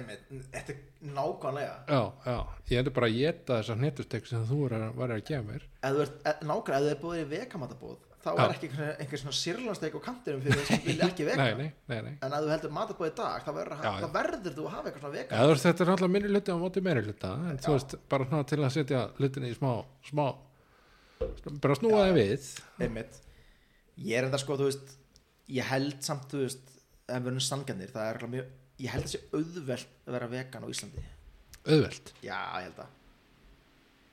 S2: emmi, þetta er nákvæmlega
S1: Já, já, ég endur bara að geta þessar hnetustek sem þú er, var að gefa mér
S2: ef þú ert, e- nákvæmlega, ef þú er búið í vegamatabóð þá
S1: Já.
S2: er ekki einhver, einhver svona sirlansteik á kantinum fyrir þess að vilja ekki vega
S1: Nei, nei, nei, nei
S2: en ef þú heldur matabóð í dag þá verður,
S1: Já, já.
S2: þá verður þú að hafa eitthvað svona vegan
S1: Eða, þú veist, Þetta er alltaf minni hluti á móti meiri hluta en þú veist, bara svona til að setja hlutinni í smá, smá bara snúa þeim við
S2: einmitt ég er enda sko, þú veist ég held samt, þú veist, ef við erum sanganir það er örugglega mjög, ég held þessi auðvelt að vera vegan á Íslandi
S1: auðvelt
S2: já, ég held að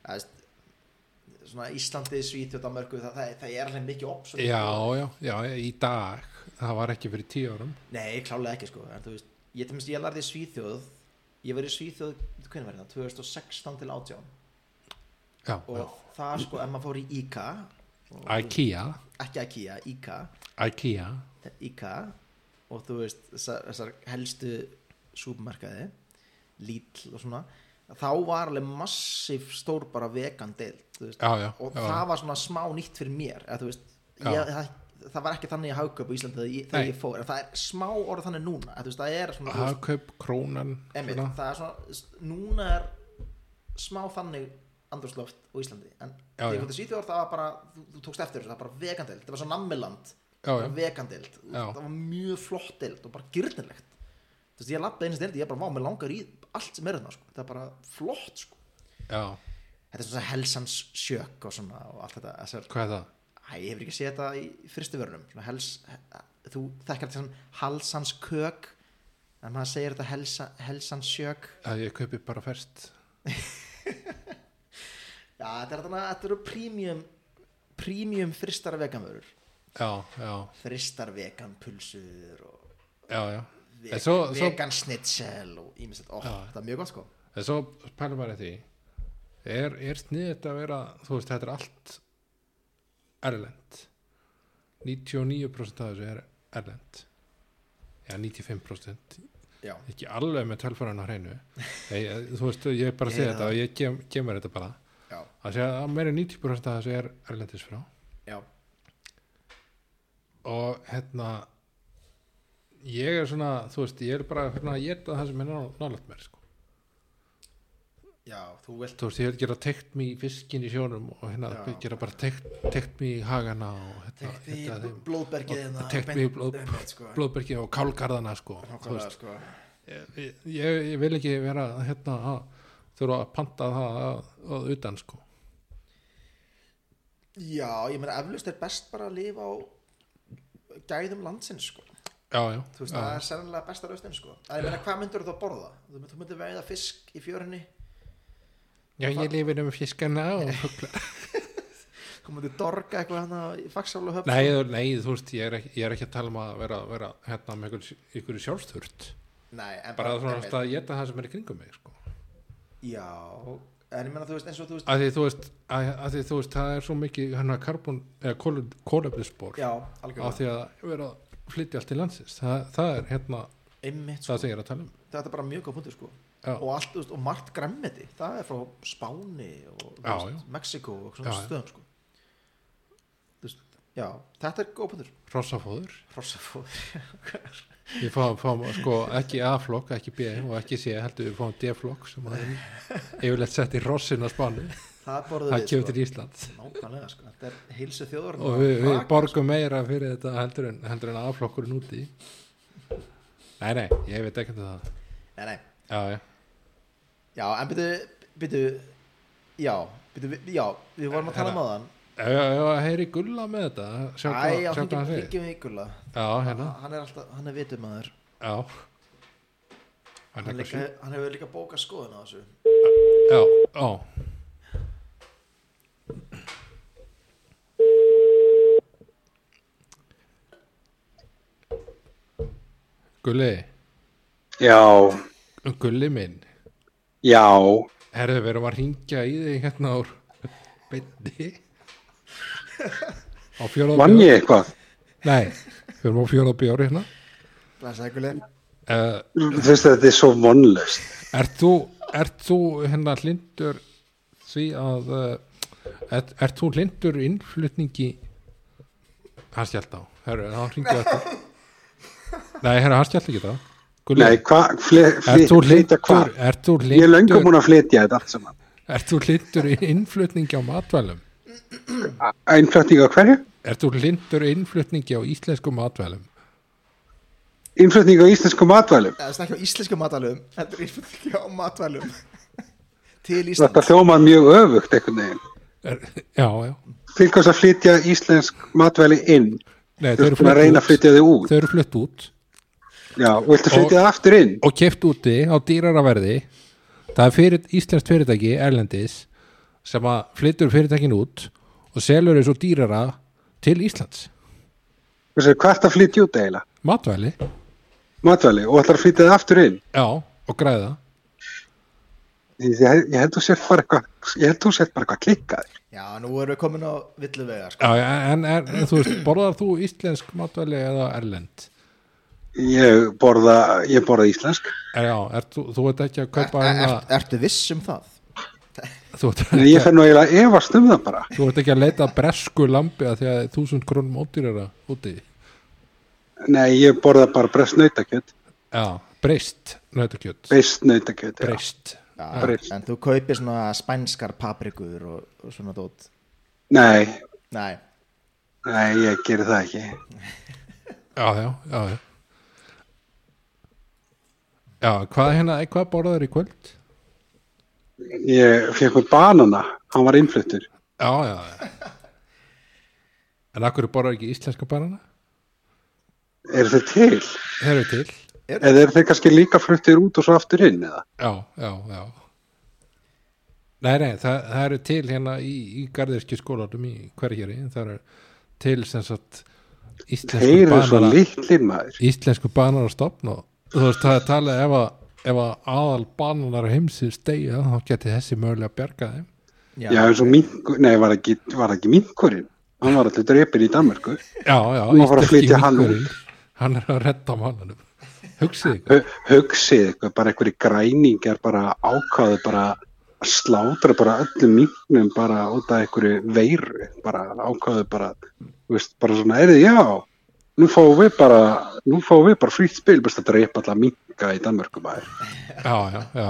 S2: það veist svona Íslandi, Svíþjóð, Danmarku það, það, það er alveg mikið opp
S1: Já, já, já, í dag það var ekki fyrir tíu árum
S2: nei, klálega ekki sko, en þú veist ég, tjumst, ég lærði í Svíþjóð ég var í Svíþjóð, hvernig var það, 2016 til 18
S1: Já,
S2: og
S1: já.
S2: það sko, ef maður fór í IKA og-
S1: IKEA
S2: ekki IKEA, IKA
S1: IKEA
S2: IKA og þú veist þessar, þessar helstu súpmarkaði Lidl og svona þá var alveg massíf stór bara vegan deild þú veist.
S1: Já, já,
S2: og
S1: já,
S2: það var svona smá nýtt fyrir mér eða, þú veist,
S1: Já.
S2: ég, það, það var ekki þannig að hauka upp á Íslandi þegar ég, þegar
S1: Nei.
S2: ég fór en það er smá orð þannig núna eða, þú veist, það er svona, þú veist,
S1: Hagkaup, krónan
S2: emitt,
S1: svona.
S2: það er svona núna er smá þannig andrúsloft á Íslandi en
S1: Já, já.
S2: þegar ég fór til Svíþjóðar það var bara, þú, þú tókst eftir þessu, það var bara vegan deild það var svo nammiland
S1: Já, já,
S2: vegandild,
S1: Já.
S2: það var mjög flott dild og bara gyrnilegt þú veist, ég lappaði einu stildi, ég bara, vá, mér langar í allt sem er þarna, sko, það er bara flott sko.
S1: já,
S2: þetta er svona helsans sjök og svona og allt þetta, þessar,
S1: hvað er það?
S2: æ, ég hefur ekki séð þetta í fyrstu vörunum, svona hels he- þú þekkar þetta sem halsans kök en maður segir þetta helsa, helsans sjök
S1: Að ég kaupi bara fest
S2: já, þetta er þarna, þetta eru premium premium fristar veganvörur
S1: Já, já,
S2: fristar veganpulsur og
S1: já, já En
S2: vegan,
S1: svo- svo-
S2: vegan snitsel og ímislegt, ó,
S1: Já.
S2: þetta er mjög gott sko
S1: En svo pælum maður í því er, er sniðið að vera þú veist, þetta er allt erlend 99% af þessu er erlend já, 95%
S2: Já,
S1: ekki alveg með tölfæran á hreinu Nei, ég- þú veist, ég er bara að
S2: Ég
S1: segja
S2: er
S1: þetta og ég kem- kemur þetta bara
S2: já,
S1: að segja að meira en 90% af þessu er erlendis frá
S2: já,
S1: og hérna ég er svona, þú veist, ég er bara hérna, ég er það sem er nálægt mér sko.
S2: já, þú vilt
S1: þú veist, ég vil gera tekt mig í fiskin í sjónum og hérna
S2: Já.
S1: gera bara tekt, tekt mig í hagana og hérna,
S2: tekt í
S1: hérna þeim
S2: blóðbergið hérna,
S1: tekt
S2: beint-
S1: mig í blóð-
S2: einmitt, sko.
S1: blóðbergi og kálgarðana sko, þú
S2: Nákvæmlega,
S1: veist,
S2: sko.
S1: ég, ég ég vil ekki vera hérna að þurfa að panta það að, að utan sko
S2: já, ég meina eflust er best bara að lifa á gæðum landsins sko.
S1: já, já,
S2: þú veist,
S1: já,
S2: það er sennilega besta lausnin sko. að ég meina, hvað myndur þú að borða? þú myndur, þú myndur veiða fisk í fjörinni
S1: já, ég lifir um fiskana og fugla
S2: þú myndur dorga eitthvað hana í fagsálu höfn
S1: nei, þú- nei, þú veist, ég er, ekki, ég er ekki að tala um að vera, vera hérna með ykkur, ykkur sjálfsþurft
S2: Nei, en
S1: bara svona
S2: einmitt.
S1: að geta það sem er í kringum mig sko
S2: já, en ég meina, þú veist, eins og þú veist
S1: að því þú veist, að, að því, þú veist það er svo mikið hérna karbon eða kólefnisbor
S2: já,
S1: á
S2: algjörlega,
S1: því að vera að flytja allt til landsins það, það er hérna
S2: einmitt sko.
S1: það sem ég er að tala um
S2: þetta er bara mjög góð punktur sko
S1: Já.
S2: og, allt, þú veist, og margt græmmeti, það er frá Spáni og þú
S1: Já,
S2: veist, Mexiko og svona
S1: Já, já.
S2: stöðum sko Þú veist, já, þetta er góð punktur
S1: rossafóður
S2: Hrossafóður,
S1: við fáum, fáum sko ekki A-flokk, ekki B og ekki C, heldur við fáum D-flokk sem að er yfirleitt sett í rossin á Spáni
S2: það borðum
S1: það kemur
S2: við
S1: til Ísland
S2: sko. nákvæmlega sko, þetta er heilsu þjóður
S1: og við, við borgum meira fyrir þetta heldur en, heldur en A-flokkurinn úti nei, nei, ég veit ekki um það
S2: nei, nei.
S1: já, já,
S2: já, en byrju, byrju já, byrju, já, við vorum að tala um aðan
S1: já, já, já heyri gulla með þetta Hérna, sjá
S2: æ,
S1: hvað
S2: já,
S1: sjá hvað
S2: hringjum
S1: hann segir
S2: hringjum í Gulla
S1: já, hérna
S2: hann er alltaf, hann er vitum aður
S1: Já Hann
S2: hann,
S1: er
S2: líka-
S1: eitthvað
S2: hann hefur líka bókað skoðun á þessu
S1: sjö Já, já Gulli
S3: Já,
S1: Gulli minn
S3: já,
S1: Herðu, við erum að ringja í þig hérna úr beinni Á fjóra
S3: vann ég eitthvað?
S1: Nei, við erum á fjóra bjóri hérna
S2: blæsaði Gulli
S1: uh,
S3: Þú veist að þetta er svo vonlust.
S1: Ert þú, ert þú hérna hlindur því að uh, ert, ert þú hlindur innflutningi hann skjált á herru, hann hringið eftir nei, herru, hann skjált ekki það Gulli,
S3: Nei, hvað,
S1: ert þú
S3: flytja
S1: hlindur
S3: hvað?
S1: ert þú
S3: Ég er löngum
S1: hlindur,
S3: búin að flytja þetta allt saman.
S1: ert þú hlindur innflutningi á matvælum
S3: Einflutning á hverju?
S1: ert þú hlindur innflutningi á íslenskum matvælum
S3: Einflutning á íslensku matvælum.
S2: Það er ekki á íslensku matvælum Þetta er íslensku á matvælum Til
S3: Þetta
S2: Íslands
S3: hljómar mjög öfugt einhvern veginn.
S1: er, já, já
S3: Til hvers að flytja íslensk matvæli inn?
S1: nei,
S3: Þú ert búin að reyna að flytja þið út.
S1: þau eru flutt út
S3: Já, og viltu flytja það aftur inn?
S1: og keft úti á dýrara verði það er fyrir, íslenskt fyrirtæki erlendis sem að flyttur fyrirtækin út og selur þessu dýrara til Íslands
S3: Þú veist, hvað ertu að flytja út eiginlega?
S1: matvæli,
S3: Matvæli, og ætlar að flytja það aftur inn?
S1: já, og græða
S3: Ég, ég held þú sért bara eitthvað, ég held þú sért bara eitthvað klikkaður.
S2: Já, nú erum við komin á villu vegar sko.
S1: já, en, en, en þú veist, borðar þú íslensk matvæli eða erlend
S3: Ég borða, ég borða íslensk.
S1: er, Eh, já, er, þú, þú ert ekki að kaupa
S2: er,
S1: hérna,
S2: er, Ertu viss um það?
S1: þú, ert
S3: Eh, Nei,
S1: ekki,
S3: ég fer nú eiginlega að efast um það bara.
S1: þú ert ekki að leita að bresku lambi að því að þúsund krónum ódýrara úti
S3: Nei, ég borða bara breyst nautakjöt.
S1: já, breyst, nautakjöt
S3: Breyst nautakjöt, já.
S1: breyst,
S3: Breyst.
S2: En þú kaupir svona spænskar paprikur og, og svona dót
S3: Nei,
S2: Nei,
S3: nei, ég geri það ekki.
S1: já, já, já, já. Já, hvað hérna, hvað borðar í kvöld?
S3: Ég fekk með banana, hann var innfluttur.
S1: Já, já, já. En akkur borðar ekki íslenska banana?
S3: Er þeir til?
S1: Þeir eru til.
S3: Eða er þeir kannski líka fluttir út og svo aftur inn, eða?
S1: Já, já, já. Nei, nei, það, það eru til hérna í, í garðirski skólanum í hverjari. Það eru til sem sagt íslensku
S3: Þeir eru svo
S1: banana,
S3: litlir maður.
S1: íslensku banana stopn og þú veist, það er talað ef að, ef að aðal bananar heimsins deyja, þá geti þessi mögulega að bjarga þeim.
S2: já,
S3: Já, eins og minkur, nei, var ekki, var ekki minkurinn. Hann var alltaf drepin í Danmarku.
S1: já, já,
S3: Nú að fara að
S1: íslenski
S3: flytja hann
S1: minkurinn. hann er að redda mannanum hugsið ykkur
S3: Hu- Hugsið eitthvað, bara einhverju græningar bara ákvaðu bara að slátra bara öllum minknum bara út af einhverju veiru, bara ákvaðu bara, þú veist, bara svona, er þið, já, nú fáum við bara, nú fáum við bara frýtt spil, bara að drepa alla minka í Danmörku maður.
S1: já, já, já,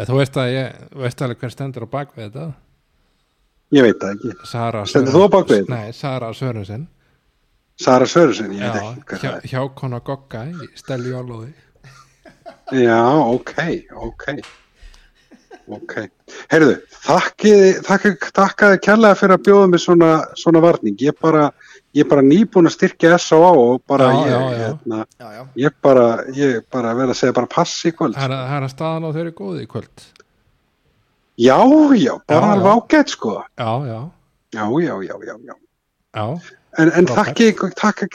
S1: Eða Þú veist að ég, veist alveg hver stendur á bakvið þetta
S3: ég veit það ekki
S1: Sara
S3: Stendur þú á bak við þetta?
S1: Nei, Sara Sörensen
S3: Sara Sörursen, ég
S1: Já,
S3: veit ekki hvað
S1: hjá,
S3: það
S1: hjá kona Gogga í Stelju Álóði
S3: er já, ok, ok ok heyrðu, þakkiði þakki- þakkaði kærlega fyrir að bjóða mig svona, svona varning, ég bara ég bara nýbúin að styrkja S.O.A. og bara
S1: Já,
S3: ég,
S1: já, já.
S3: Hérna,
S2: já, já,
S3: ég bara, ég bara verð að segja bara pass í kvöld
S1: Það er að- það er að staðan á þeirri góði í kvöld
S3: já, já, bara
S1: Já, já.
S3: alveg ágætt sko
S1: Já, já,
S3: já, já, já, já, já
S1: já,
S3: en, en
S1: Frábært.
S3: þakki, ykkur- þakka,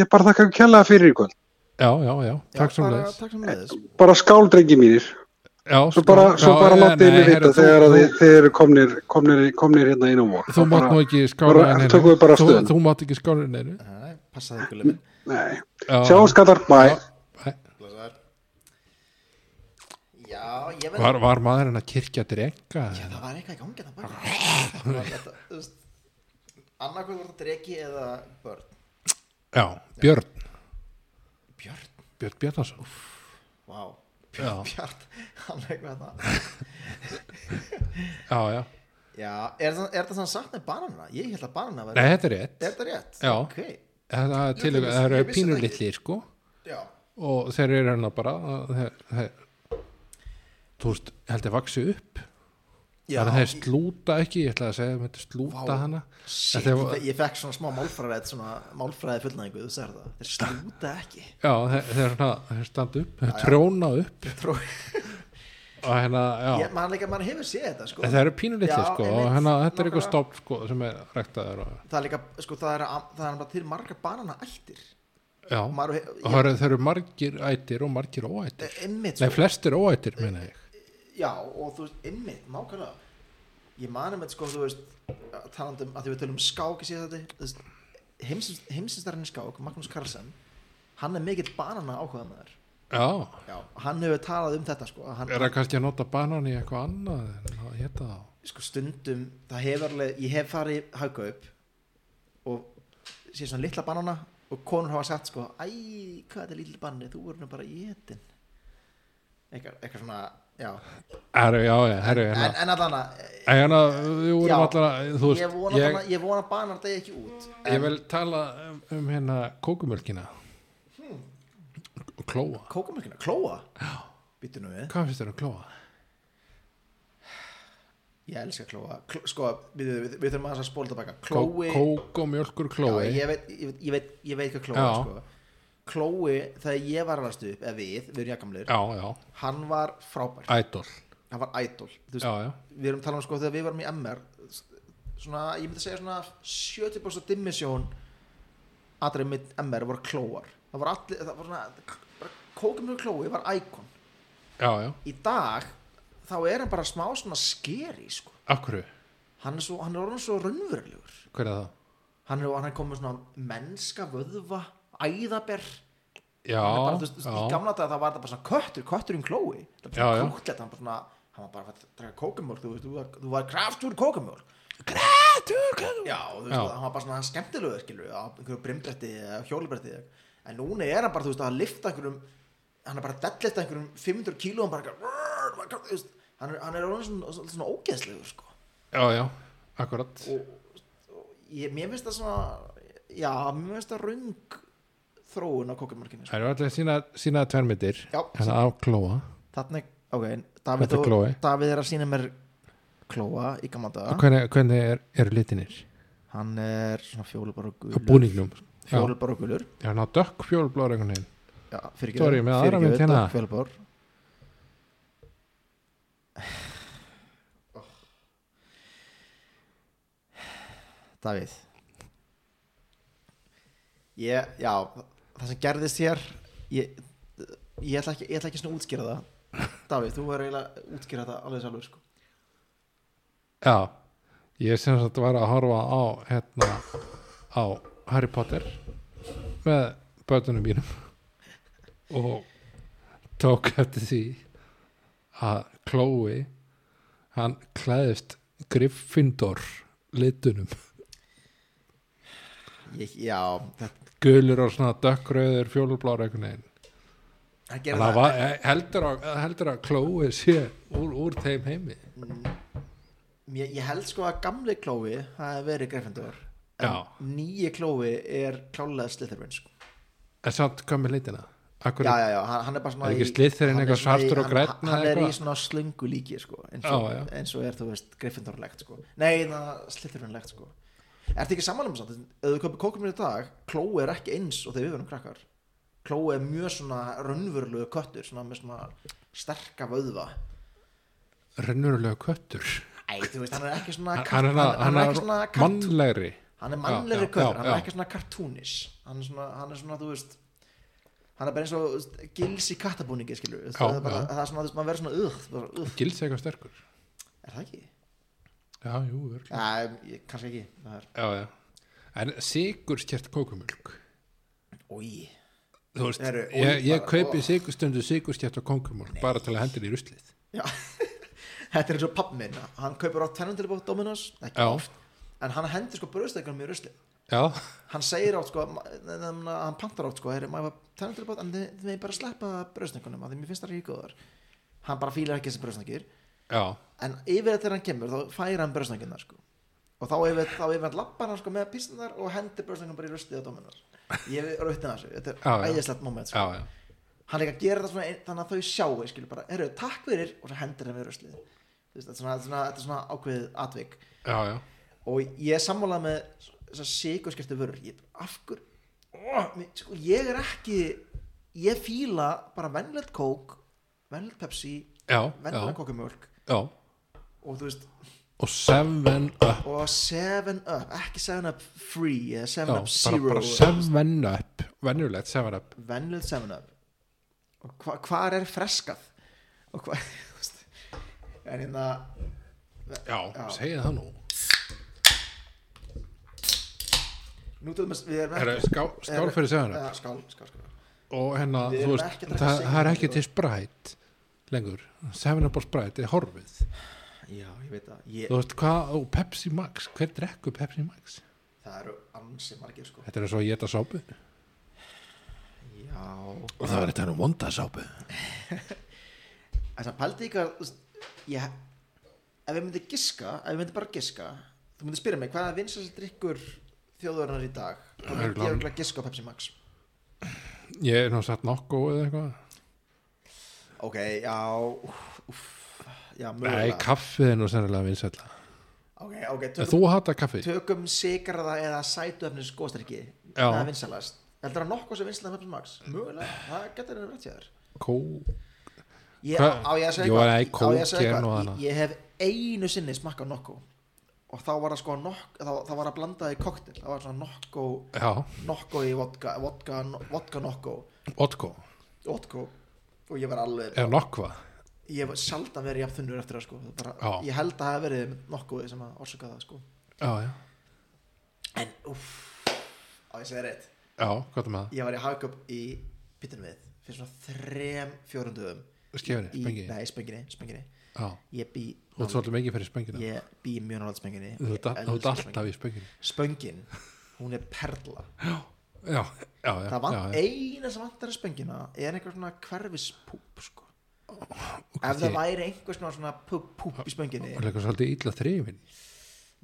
S3: ég bara þakka ykkur kærlega fyrir í kvöld
S1: já, já, já Takk
S2: já,
S1: svo
S2: bara-
S1: leðis
S2: takk sem leiðis
S3: bara skál drengi mínir svo
S1: sko.
S3: bara, svo bara látið mig vita þegar að þið, þið eru komnir, komnir, komnir hérna inn á vor
S1: Þú mátt nú ekki skára
S3: bara-
S1: henni
S3: tökum við bara
S1: Þú,
S3: afstöðuna.
S1: þú mátt ekki skára henni
S2: Nei, passaði ykkur lemmin
S3: Nei. sjáum skattar, bye
S2: já, ég verð
S1: Var, var maðurinn að kirkja drenga?
S2: Já, það var eitthvað í gangi það bara annarkvæð var það dregi eða börn
S1: Já, Björn
S2: Björn,
S1: Björn Bjarnason
S2: vá
S1: Já.
S2: Björn, Björn, hann er eitthvað það
S1: Já, já
S2: Já, er það, er það sann sagt með bananina? Ég held að bananina væri
S1: Nei, þetta er rétt
S2: Er það rétt?
S1: Já.
S2: Ok,
S1: Það er til-
S2: Ég vissi-
S1: það eru
S2: ég vissi það ekki.
S1: pínulitlir sko
S2: já
S1: og þeir eru hérna bara þeir, þeir, þú veist, held ég vaksi upp
S2: Já,
S1: þannig að þeir slúta ekki, ég ætla að segja þeir slúta
S2: Vá.
S1: hana
S2: shit,
S1: Þetta var-
S2: ég, ég fekk svona smá málfræðið svona málfræðið fullnæðingu, þú sér það Þeir slúta ekki
S1: já, þeir, þeir, svona, þeir standa upp, þeir tróna upp
S2: Tró,
S1: og hérna, já,
S2: ég, man, leika, man hefur séð þetta sko
S1: En þeir eru pínulitlir
S2: Já,
S1: sko
S2: einmitt,
S1: og hérna, þetta er eitthvað
S2: nákvæmlega.
S1: stofn sko sem er rektaður og,
S2: Það er líka, sko, það er, það er bara til margar banana ættir
S1: já,
S2: Og
S1: og
S2: maður,
S1: það eru, þeir eru margir ættir og margir óættir,
S2: ég, einmitt,
S1: nei flestir óættir meina ég,
S2: Já, og þú veist, einmitt, nákvæmlega Ég mani með, sko, þú veist talandum að því við tölum um skák í síðan þetta heimsinstarinn í skák, Magnús Carlsen hann er mikill banana áhugað með þær
S1: já
S2: Já, hann hefur talað um þetta, sko að hann,
S1: er það kannski að nota banan í eitthvað annað en að hétta þá
S2: sko, stundum, það hefur alveg ég hef farið í hagkaup og sé svona litla banana og konur hafa sagt, sko, æ hvað er þetta lítið banni, þú voru nú bara í etin eitthvað, eitthvað svona já,
S1: Herru, já, já, herru,
S2: en,
S1: hérna
S2: en allan að
S1: En hérna, við vorum
S2: Já.
S1: allan þú
S2: ég
S1: veist,
S2: vona,
S1: ég,
S2: ég, ég vona að banar degi ekki út
S1: ég vil tala um, um hérna kókumölkina og klóa.
S2: kókamölkina, klóa býttu nú við,
S1: Hvað finnst þér um klóa?
S2: ég elska klóa Kl sko, við, við, við þurfum aðeins að spóla tilbaka
S1: Kó,
S2: klói,
S1: kók og mjölkur klói.
S2: Já, ég, veit, ég, veit, ég, veit, ég veit hvað klóa
S1: Já.
S2: er, sko. klói, þegar ég var alveg stuð eða við, við erum jakamlir
S1: já, já,
S2: hann var frábær,
S1: ædol.
S2: hann var idol Þú veist,
S1: Já, já,
S2: við erum talað um sko þegar við varum í MR svona, ég myndi segja svona 70% dimmisjón aðrið mitt MR voru klóar það voru allir, það voru svona kókumölkina klói var íkon
S1: já, já.
S2: í dag þá er hann bara smá svona skeri sko.
S1: Af hverju?
S2: hann, er svo, hann er orðin svo raunverulegur
S1: Hver er það?
S2: hann er, hann er komið svona mennska vöðva æðaber
S1: Já,
S2: Hann er bara, þú veist, þú veist, í
S1: já,
S2: gamla dag það var það bara svona köttur kötturinn klói það var
S1: Já, já.
S2: bara kóklet hann, bara svona, hann var bara að draka kókumjólk þú, veist, þú, var, þú var kraftur kókumjólk kraftur kókumjólk já, og þú veist,
S1: Já.
S2: hann var bara svona skemmtilegur skilur, á einhverju brimbretti eða hjólibretti en núna er hann bara, þú veist, að lifta einhverjum hann er bara að dellista einhverjum 500 kíló hann bara, eitthvað, þú veist, hann er, hann er orðinn svona, svona, svona ógeðslegur sko.
S1: já, já, akkurat.
S2: ég, mér finnst það svona já, mér finnst það röng þróun á kókumjólkinni sko.
S1: Það eru allir sína, sína tvermitir,
S2: Já.
S1: hérna af klóa.
S2: Þannig, ok, Davíð,
S1: Þetta er Chloe.
S2: og, Davíð er að sína mér klóa í gamla daga
S1: Hvernig, hvernig er, eru litinir?
S2: Hann er svona fjólubar og
S1: Á
S2: gulur
S1: búningnum. Já,
S2: Fjólubar og gulur
S1: já, ná, dökk fjólblóður einhvern veginn.
S2: Já, fyrir
S1: Sorry, með aðra mynd hérna.
S2: Fjólubar Oh. Davíð Ég, já, það sem gerðist hér Ég, ég ætla ekki, ég ætla ekki svona að útskýra það Davíð, þú verður eiginlega að útskýra það alveg sjálfur sko
S1: Já, ég sem sagt var að horfa á hérna á Harry Potter með börnunum mínum og tók eftir því að Chloe hann klæðist Gryffindor litunum
S2: Ég, já, þetta,
S1: gulur og svona dökkröður fjólublára einhvern veginn
S2: hann
S1: En
S2: gerði
S1: það
S2: það,
S1: var, eh, heldur, að, heldur að klói sé úr, úr þeim heimi
S2: Ég, ég held sko að gamli klófi hafi verið Gryffindor en
S1: Já.
S2: nýji klófi er klálega Slytherin sko.
S1: en samt komið leitina Akkur,
S2: já, já, já, hann, hann er bara svona
S1: Er ekki
S2: í-
S1: Slytherin
S2: hann er
S1: eitthvað
S2: svona í-
S1: svartur og
S2: hann-
S1: grænn
S2: hann
S1: eða
S2: er í
S1: eitthvað?
S2: svona slöngu líki sko, eins,
S1: Já,
S2: og,
S1: já.
S2: eins og er þú veist Gryffindorlegt sko. nei, það Slytherinlegt sko. ertu ekki samanlega um samt ef þú köpir kókum í dag, klói er ekki eins og þegar við verum krakkar klói er mjög svona raunverulegu köttur svona með svona sterka vöðva
S1: rennurulega köttur
S2: Æ, þú veist, hann er ekki svona
S1: Hann- hann
S2: kart-
S1: er, hann, hann
S2: ekki svona
S1: er
S2: kart-
S1: mannlegri
S2: hann er
S1: Já,
S2: mannlegri
S1: já,
S2: köttur,
S1: já,
S2: hann er
S1: já.
S2: ekki svona kartúnis hann er svona, hann er svona, þú veist hann er bara eins og þú veist, gils í kattabúningi skilur, já, það,
S1: Já,
S2: er bara,
S1: já.
S2: það er svona, þú veist, maður verður svona "Ugh", bara, "Ugh",
S1: gils eitthvað sterkur
S2: er það ekki?
S1: já, jú, örugglega.
S2: Ja, ég, kannski ekki það er,
S1: já, já. en sigur skert kókumjölk
S2: ói,
S1: þú veist,
S2: Eru-
S1: ég, ég
S2: bara-
S1: kaupi sigur, stundu sigur skert og kókumjölk bara til að hendur í ruslið
S2: já þetta er eins og pappi minn, hann kaupir á tennum til bótt Dominos, ekki
S1: Já.
S2: oft en hann hendur sko bröðstekunum í rusli
S1: já,
S2: hann segir átt sko, ma- ne- ne- ne- hann pantar átt sko, er maður tennum til bótt en þið þið megið bara sleppa bröðstekunum að því mér finnst það ekki góðar hann bara fílar ekki þessi bröðstekir
S1: já,
S2: en yfir þegar hann kemur þá fær hann bröðsnögginnar sko. og þá yfir, þá yfir hann lappar hann sko, með písnar og hendir bröðsnögginn bara í rustið á dóminar ég er auðvitað þessu, þetta
S1: Já,
S2: er
S1: já.
S2: æðislegt moment
S1: já,
S2: sko.
S1: já
S2: hann líka gerir þetta svona ein- þannig að þau sjáu skilur bara, eru takk fyrir og svo hendir hann við ruslið Þú veist, þetta er svona, þetta er svona, þetta er svona ákveðið atvik
S1: já, já,
S2: og ég er sammálað með þessar sigurskiptu vörur ég, af hver oh, mér- sko, ég er ekki ég fíla bara vennlegt kók vennlegt pepsi,
S1: já, já,
S2: vennlegt kókumjólk
S1: já.
S2: og þú veist,
S1: og seven up
S2: og 7 up, ekki 7 up free eða 7
S1: já,
S2: up
S1: bara,
S2: zero
S1: bara seven up venjulegt seven up
S2: venlöð 7 up og hva, hvar er freskað og hvað en hérna
S1: já,
S2: Já.
S1: segið það nú
S2: nú til dæmis við erum
S1: Herra, skál, skál fyrir seven up
S2: ja, skál, skál, skál.
S1: og hérna,
S2: Við
S1: þú
S2: erum
S1: veist,
S2: ekki að drekka
S1: það,
S2: Seven
S1: það er
S2: Up,
S1: ekki
S2: sko.
S1: til sprætt lengur, 7up og sprætt er horfið,
S2: já, ég veit það ég,
S1: þú veist hvað og Pepsi Max, hver drekku Pepsi Max
S2: það eru ansi margir sko
S1: þetta er svo að geta sápu og
S2: já,
S1: það var þetta nú vonda sápu
S2: þess að pældi ykkar þú veist, ég, ef ég myndi giska ef ég myndi bara giska þú myndi spyrja mig hvað er vinsast drikkur þjóðurinnar í dag þá myndi
S1: Örugglega-
S2: ég örugglega giska á Pepsi Max
S1: ég er nú satt nokku eða eitthvað
S2: Ok, já úff, úff, Já,
S1: nei,
S2: mögulega
S1: kaffið er nú sennilega vinsætla
S2: Ok, ok, tökum,
S1: þú hata kaffi,
S2: tökum sigraða eða sætuöfnis góðstyrki
S1: Já.
S2: Það er vinsalast Heldur það nokkuð sem vinsalast með Pepsi Max? Mögulega, það getur þeirra rétt hjá þér
S1: kó
S2: Ég,
S1: Hvað?
S2: á ég að segja
S1: Jú,
S2: eitthvað?
S1: nei,
S2: Á ég að
S1: kók er nú
S2: segja eitthvað?
S1: annað.
S2: Ég, ég hef einu sinni smakkað nokkuð og þá var það sko nokk þá, þá var það blandað í koktel það var svona nokko
S1: já,
S2: nokko í vodka vodka, vodka nokko
S1: otko
S2: vodka og ég var alveg
S1: eða nokkva,
S2: ég var sjaldan verið jafn þunnur eftir það sko Það bara,
S1: Já.
S2: ég held að það hafi verið nokkuð sem að orsaka það sko
S1: já, já
S2: En, uff, á ég segi rétt
S1: já, hvað er með
S2: Ég var í hagköp í pittunum við Fyrir svona þrem, fjórum dögum
S1: það skefri,
S2: í,
S1: spengi,
S2: Nei, spenginni, spenginni
S1: já
S2: Ég bý,
S1: þú ert svolítið mikið fyrir spengina
S2: ég bý mjög nálega spenginni
S1: þú ert all- þú ert alltaf í spengina
S2: Spöngin, hún er perla
S1: já, já, já,
S2: Það vant,
S1: já, já.
S2: eina sem vantar að spöngina Er einhver svona hverfispúp sko. Ef það
S1: ég-
S2: væri einhver svona, svona púp, púp í spönginni
S1: Það er eitthvað svolítið illa þrifin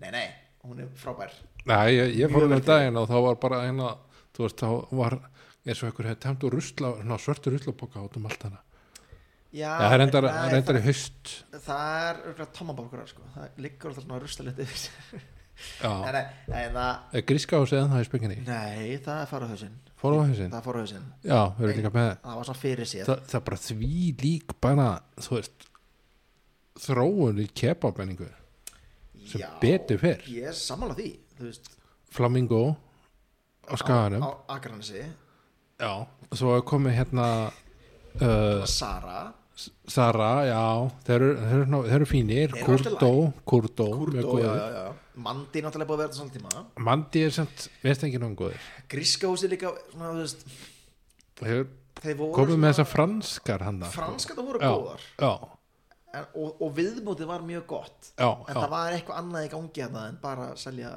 S2: Nei, nei, hún er frábær
S1: Nei, ég, ég
S2: Mjög
S1: fór um
S2: vel
S1: daginn og þá var bara eina þú veist, þá var eins og einhver hefði tæmt úr rusla, ná, svörtu ruslapoka út um allt hana
S2: Ah, Já,
S1: Já, það er reyndar,
S2: nei,
S1: reyndar í haust
S2: það, það er örugglega tommabokkurar sko. Það liggur alltaf svona rustalit yfir sér Nei,
S1: Já,
S2: nei, nei, það,
S1: er gríska hús eða það í spenginni
S2: nei, það er farahauðsinn
S1: Fór á hausinn?
S2: Það er farahauðsinn
S1: Já, við erum líka með
S2: Það var svona fyrir sér
S1: Þa, Það er bara því lík bara, þú veist þróun í kebabenningu sem
S2: Já,
S1: betur fer.
S2: Ég er sammála því Þú veist
S1: Flamingo á skaganum
S2: Á Akranesi
S1: Já, svo er komið hérna uh,
S2: Sara
S1: Sara, já þeir eru, þeir eru, ná- þeir eru fínir
S2: Þeir eru alltaf
S1: Kurdo, Kurdo, mjög
S2: Kurdo, já,
S1: góður
S2: já, já Mandi náttúrulega búið að vera þetta svona tíma
S1: Mandi er samt, veist ekki náum góður
S2: Gríska húsi líka Svona, þú veist
S1: Hefur
S2: Þeir voru
S1: komið með þessar franskar hann
S2: Franska það voru
S1: já,
S2: góðar
S1: já,
S2: en, og, og viðmótið var mjög gott
S1: já,
S2: En
S1: já,
S2: það var eitthvað annað í gangi hérna En bara að selja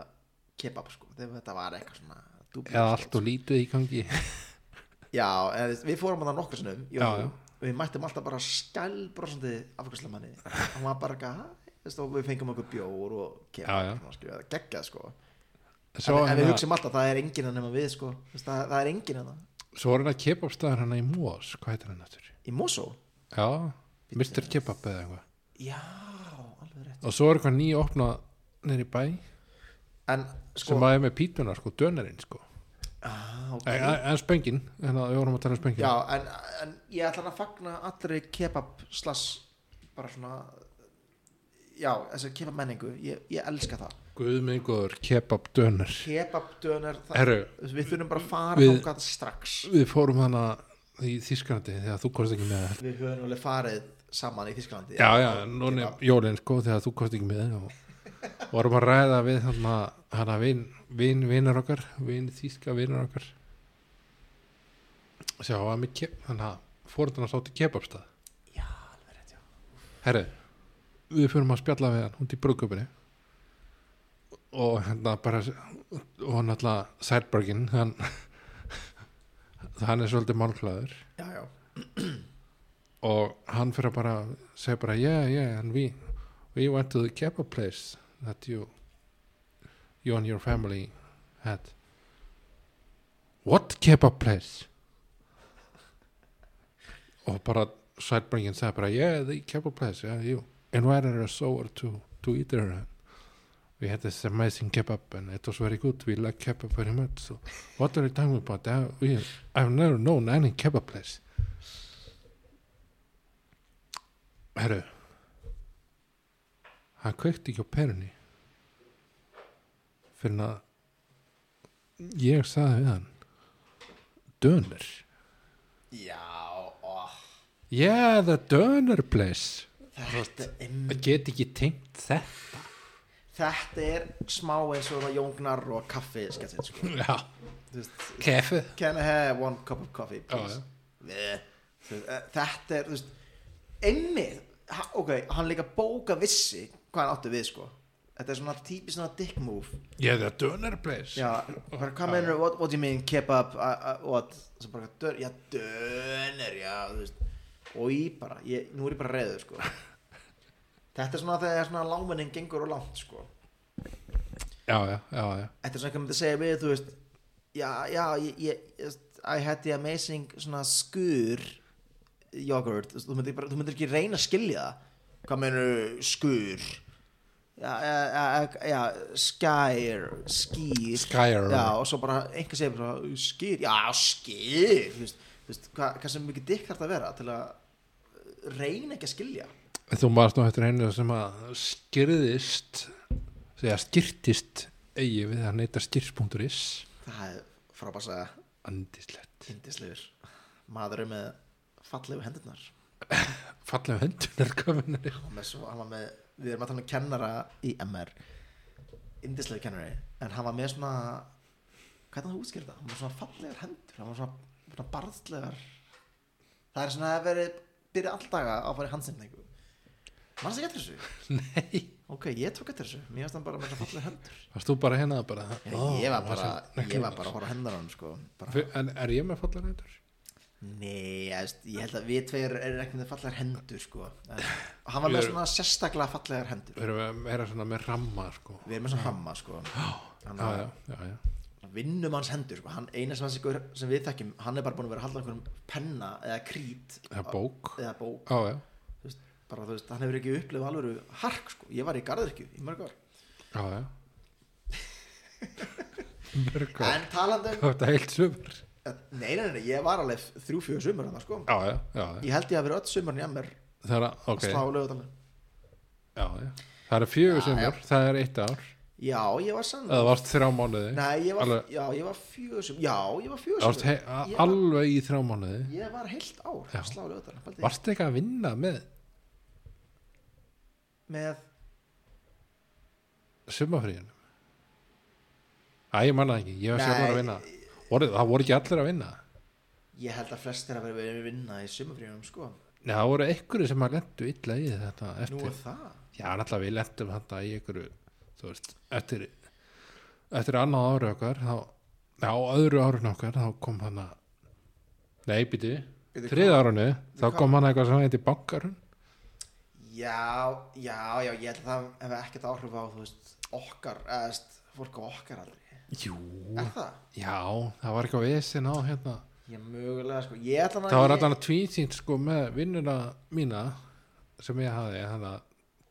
S2: kebab sko Þegar þetta var eitthvað svona dúbli-
S1: eða allt og lítið í gangi
S2: já, en þú veist, við fórum að það nokkur sinnum jú,
S1: Já, já.
S2: og við mættum alltaf bara skælbrosandi afgjörslemanni hann var bara eitthvað, hæ, veist, og við fengum okkur bjór og
S1: Já, já.
S2: kemur, svona, skilja, geggjað sko
S1: svo
S2: en, en við
S1: hérna-
S2: hugsim alltaf, það er enginn hann nema við sko, veist, það, það er enginn hérna. hann
S1: Svo var hann að kebabstaðar hann í Mós, hvað heitir hann aftur?
S2: í Mosó,
S1: Já, Mr. Kebab eða eitthvað
S2: já, alveg rétt
S1: Og svo er eitthvað nýja opna nýri bæ
S2: en
S1: sem
S2: sko,
S1: að er með pítunar, sko, dönerinn, sko
S2: ah, ok.
S1: En, en spöngin, en að við vorum að tala um spöngin
S2: já, en, en ég ætla að fagna allri kebab slass bara svona já, þessi kebab menningu, ég, ég elska það
S1: Guðmengur, kebab, döner
S2: kebab dönar,
S1: Herru,
S2: við þurfum bara að fara
S1: Við-
S2: við, strax
S1: við fórum hann að í Þískarandi þegar þú komst ekki með
S2: við höfum alveg farið saman í Þísklandi
S1: Já, já, núna er jólinn, sko, þegar þú komst ekki með og vorum að ræða við hann að hann að vin, vin, vinar okkar vin, þýska vinar okkar Sjá, hann með keb, hann að fórðan að sátti kebabstað
S2: já alveg rétt, já
S1: Herri, við fyrum að spjalla við hann hundi í brúðköpunni og hérna bara og hann alltaf Sætbergin hann, hann er svolítið málklaður
S2: já, já,
S1: og hann fyrir að bara segja bara yeah, yeah, and we we went to the kebab place that you you and your family had what kebab place og bara sætbringin segja bara yeah, the kebab place, yeah, you invited us over to, to eat there and we had this amazing kebab and it was very good, we like kebab very much so what are you talking about I, we, I've never known any kebab place Herru Hann kveikti ekki á perunni fyrir að ég sagði við hann Döner
S2: já oh, ó,
S1: Yeah, the döner place
S2: þetta, em,
S1: Það get ekki tengt þetta
S2: þetta er smá eins og það jóngnar og kaffi skettin, sko.
S1: Já,
S2: Þú veist,
S1: kefi
S2: can I have one cup of coffee please
S1: Já,
S2: Bleh. Þú veist, eh, þetta er þú veist, einmið, ha- ok, hann líka bóka vissi hvað hann átti við sko þetta er svona típist svona dick move
S1: Yeah, the döner place
S2: Já, bara hvað mennur, what, what do you mean, kebab, uh, uh, what, sem bara, dör, já, döner, já, þú veist, og ég bara, ég, nú er ég bara reyður, sko. Þetta er svona þegar svona lámennin gengur og langt, sko.
S1: já, já, já, já.
S2: Þetta er svona eitthvað myndi segja við, þú veist, já, já, ég, ég, þú veist, I had the amazing svona skur yoghurt, þú veist, þú myndir, bara, þú myndir ekki reyna að skilja það. Hvað mennur skur? Já, já, já, já, skær, skýr.
S1: Skyer
S2: Já, og svo bara einhver segir bara, skýr, já, skýr þú veist, þú veist hvað, hvað sem mikið dikk þarf að vera til að reyna ekki að skilja
S1: Þú maður nú eftir einu sem að skyrðist segja skyrtist eigi við að neyta skyrst.is
S2: það er frábæsa
S1: Andislegt
S2: yndislegur maður er með fallegu hendurnar
S1: Fallega hendunar kominari
S2: hann, með svo, hann var með, við erum að tala um kennara í MR yndislegur kennari, en hann var með svona hvað er það að útskýra það? hann var svona fallegar hendur, hann var svona, svona barðslegar það er svona að veri byrja alldaga á að fara í handsinningu mannst ekki eftir þessu?
S1: Nei
S2: Ok, ég tók eftir þessu, mér finnst hann bara með það fallið hendur
S1: Varst þú bara hérna bara
S2: ég,
S1: ó,
S2: ég var
S1: það
S2: bara,
S1: sem-
S2: ég var bara að horfa á hendur á hann sko bara,
S1: Fyr- En er ég með fallar hendur?
S2: Nei, ég, veist, ég held að við tveir erum ekki með fallegar hendur sko en, Hann var
S1: Við
S2: með
S1: erum-
S2: svona sérstaklega fallegar hendur
S1: Við erum að vera svona með ramma sko
S2: Við erum með svona hamma sko Hann
S1: Já,
S2: var-
S1: já, já, já
S2: Vinnum hans hendur sko hann, Eina sem, hans ykkur, sem við þekkjum, hann er bara búin að vera að halda einhverjum penna eða krít
S1: Það er bók
S2: eða bók
S1: Já, já,
S2: Þú veist, bara, þú veist, Hann hefur ekki upplifað alveg hark sko Ég var í garðirkju í mörg ár
S1: já, já Mörg
S2: En talandi um,
S1: Þetta er heilt sumur
S2: nei, nei, nei, nei, ég var alveg þrjú, fjögur sumur hann sko
S1: Já, já, já, já.
S2: Ég held ég að vera öll sumarn í MR
S1: Það er að, ok
S2: að slá lögadalinn
S1: já, já. Það er fjögur
S2: Já,
S1: sumur, það er eitt ár
S2: Já, ég var sann
S1: Það varst þrjá mánuði
S2: Nei, ég var,
S1: alveg-
S2: já, ég var fjögusum Já, ég var
S1: Það varst
S2: fjögusum
S1: hei, a-
S2: Ég var-
S1: alveg í þrjá mánuði
S2: Ég var heilt ár
S1: Já.
S2: að slá lögadalinn
S1: Varst ekki að vinna með
S2: Með,
S1: sumafríðinu Æ, ég manna ekki, ég var sjálfur að
S2: Nei.
S1: vinna voru, Það voru ekki allir að vinna
S2: ég held að flestir að vera verið að vinna í sumafríðunum sko
S1: Nei, það voru einhverju sem að lendu illa í þetta
S2: Nú
S1: eftir,
S2: er það
S1: já, náttúrulega við lendum þetta í einhverju, þú veist eftir, eftir annað ára okkar þá, já, á öðru árun okkar þá kom hann að Nei, býti,
S2: Bíddu,
S1: þriða árunni þá kom hann eitthvað sem heiti bankarun
S2: Já, já, já, ég held að það hefði ekkert áhrif á, þú veist, okkar, eða, þú veist, fólk á okkar aldrei.
S1: Jú
S2: Er það?
S1: Já, það var eitthvað vesinn á hérna
S2: Ég mögulega, sko, ég ætla að
S1: Það var
S2: ég...
S1: allan að tvísýnt sko með vinnuna mína sem ég hafði hann að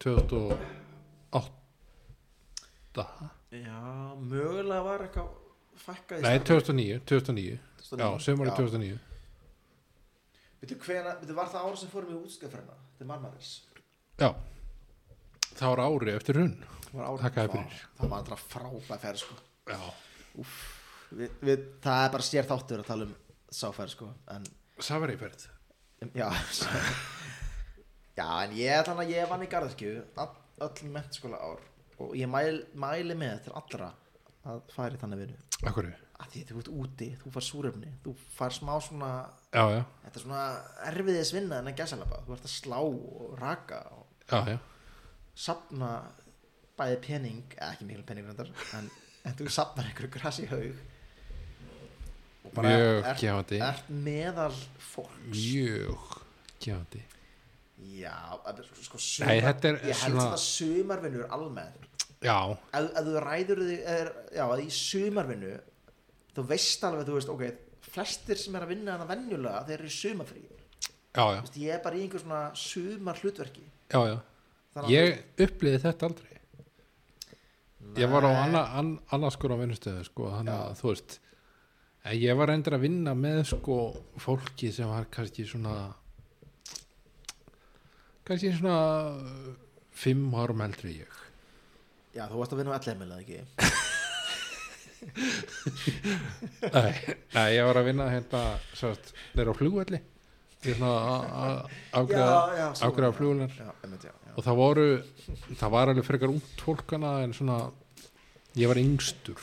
S1: 2008
S2: Já, mögulega var eitthvað fækkað í
S1: Nei, 2009, 2009 Já, sömari 2009
S2: Veitu, hvena, veitu, var það ára sem fórum í útskjöfrena? Þetta er marmaris.
S1: Já Það var ári eftir hrun
S2: Það var ára.
S1: Þakkaði fyrir.
S2: Það var alltaf frábæð ferð, sko.
S1: Já
S2: Við, við, það er bara sér þáttur að tala um sáferð, sko, en...
S1: Safariferð
S2: Já Já, en ég þannig að ég vann í garðskju öll mentaskóla ár og ég mæl, mæli með til allra að færi þannig vinnu
S1: Akkur Já,
S2: að því þú ert úti, þú far súrefni þú far smá svona,
S1: já,
S2: þetta er svona erfiðis vinna en að gæsalapa, þú ert að slá og raka og
S1: já, já
S2: sapna bæði pening, eða ekki mikil pening reyndar, en, en þú sapnar einhverju grasi haug og
S1: Mjög
S2: ert,
S1: gefandi.
S2: ert meðal fólks
S1: Mjög Gjandi
S2: Já, að- sko
S1: Nei, þetta er
S2: Ég held
S1: svona-
S2: að sumarvinnur almennt
S1: Já,
S2: Ef ef þú ræður þig er, Já, að í sumarvinnu Þú veist alveg, þú veist, ok Flestir sem er að vinna hana venjulega Þeir eru í sumarfrí Þú
S1: já, já,
S2: veist, Ég er bara í einhver svona sumar hlutverki
S1: já, já. Ég upplýði þetta aldrei Ég var á anna, an, annarskur á vinnustöðu sko, þannig að þú veist en ég var endur að vinna með sko fólki sem var kannski svona kannski svona uh, fimm árum eldri en ég
S2: Já, þú varst að vinna á allir meðlega ekki
S1: nei, nei, ég var að vinna hérna sátt, þeir á flugvelli ég svona að- að afgræða
S2: já, svo-
S1: afgræða flugvelnar
S2: Já, emmitt, já, já
S1: og það voru það var alveg frekar út fólkana en svona ég var yngstur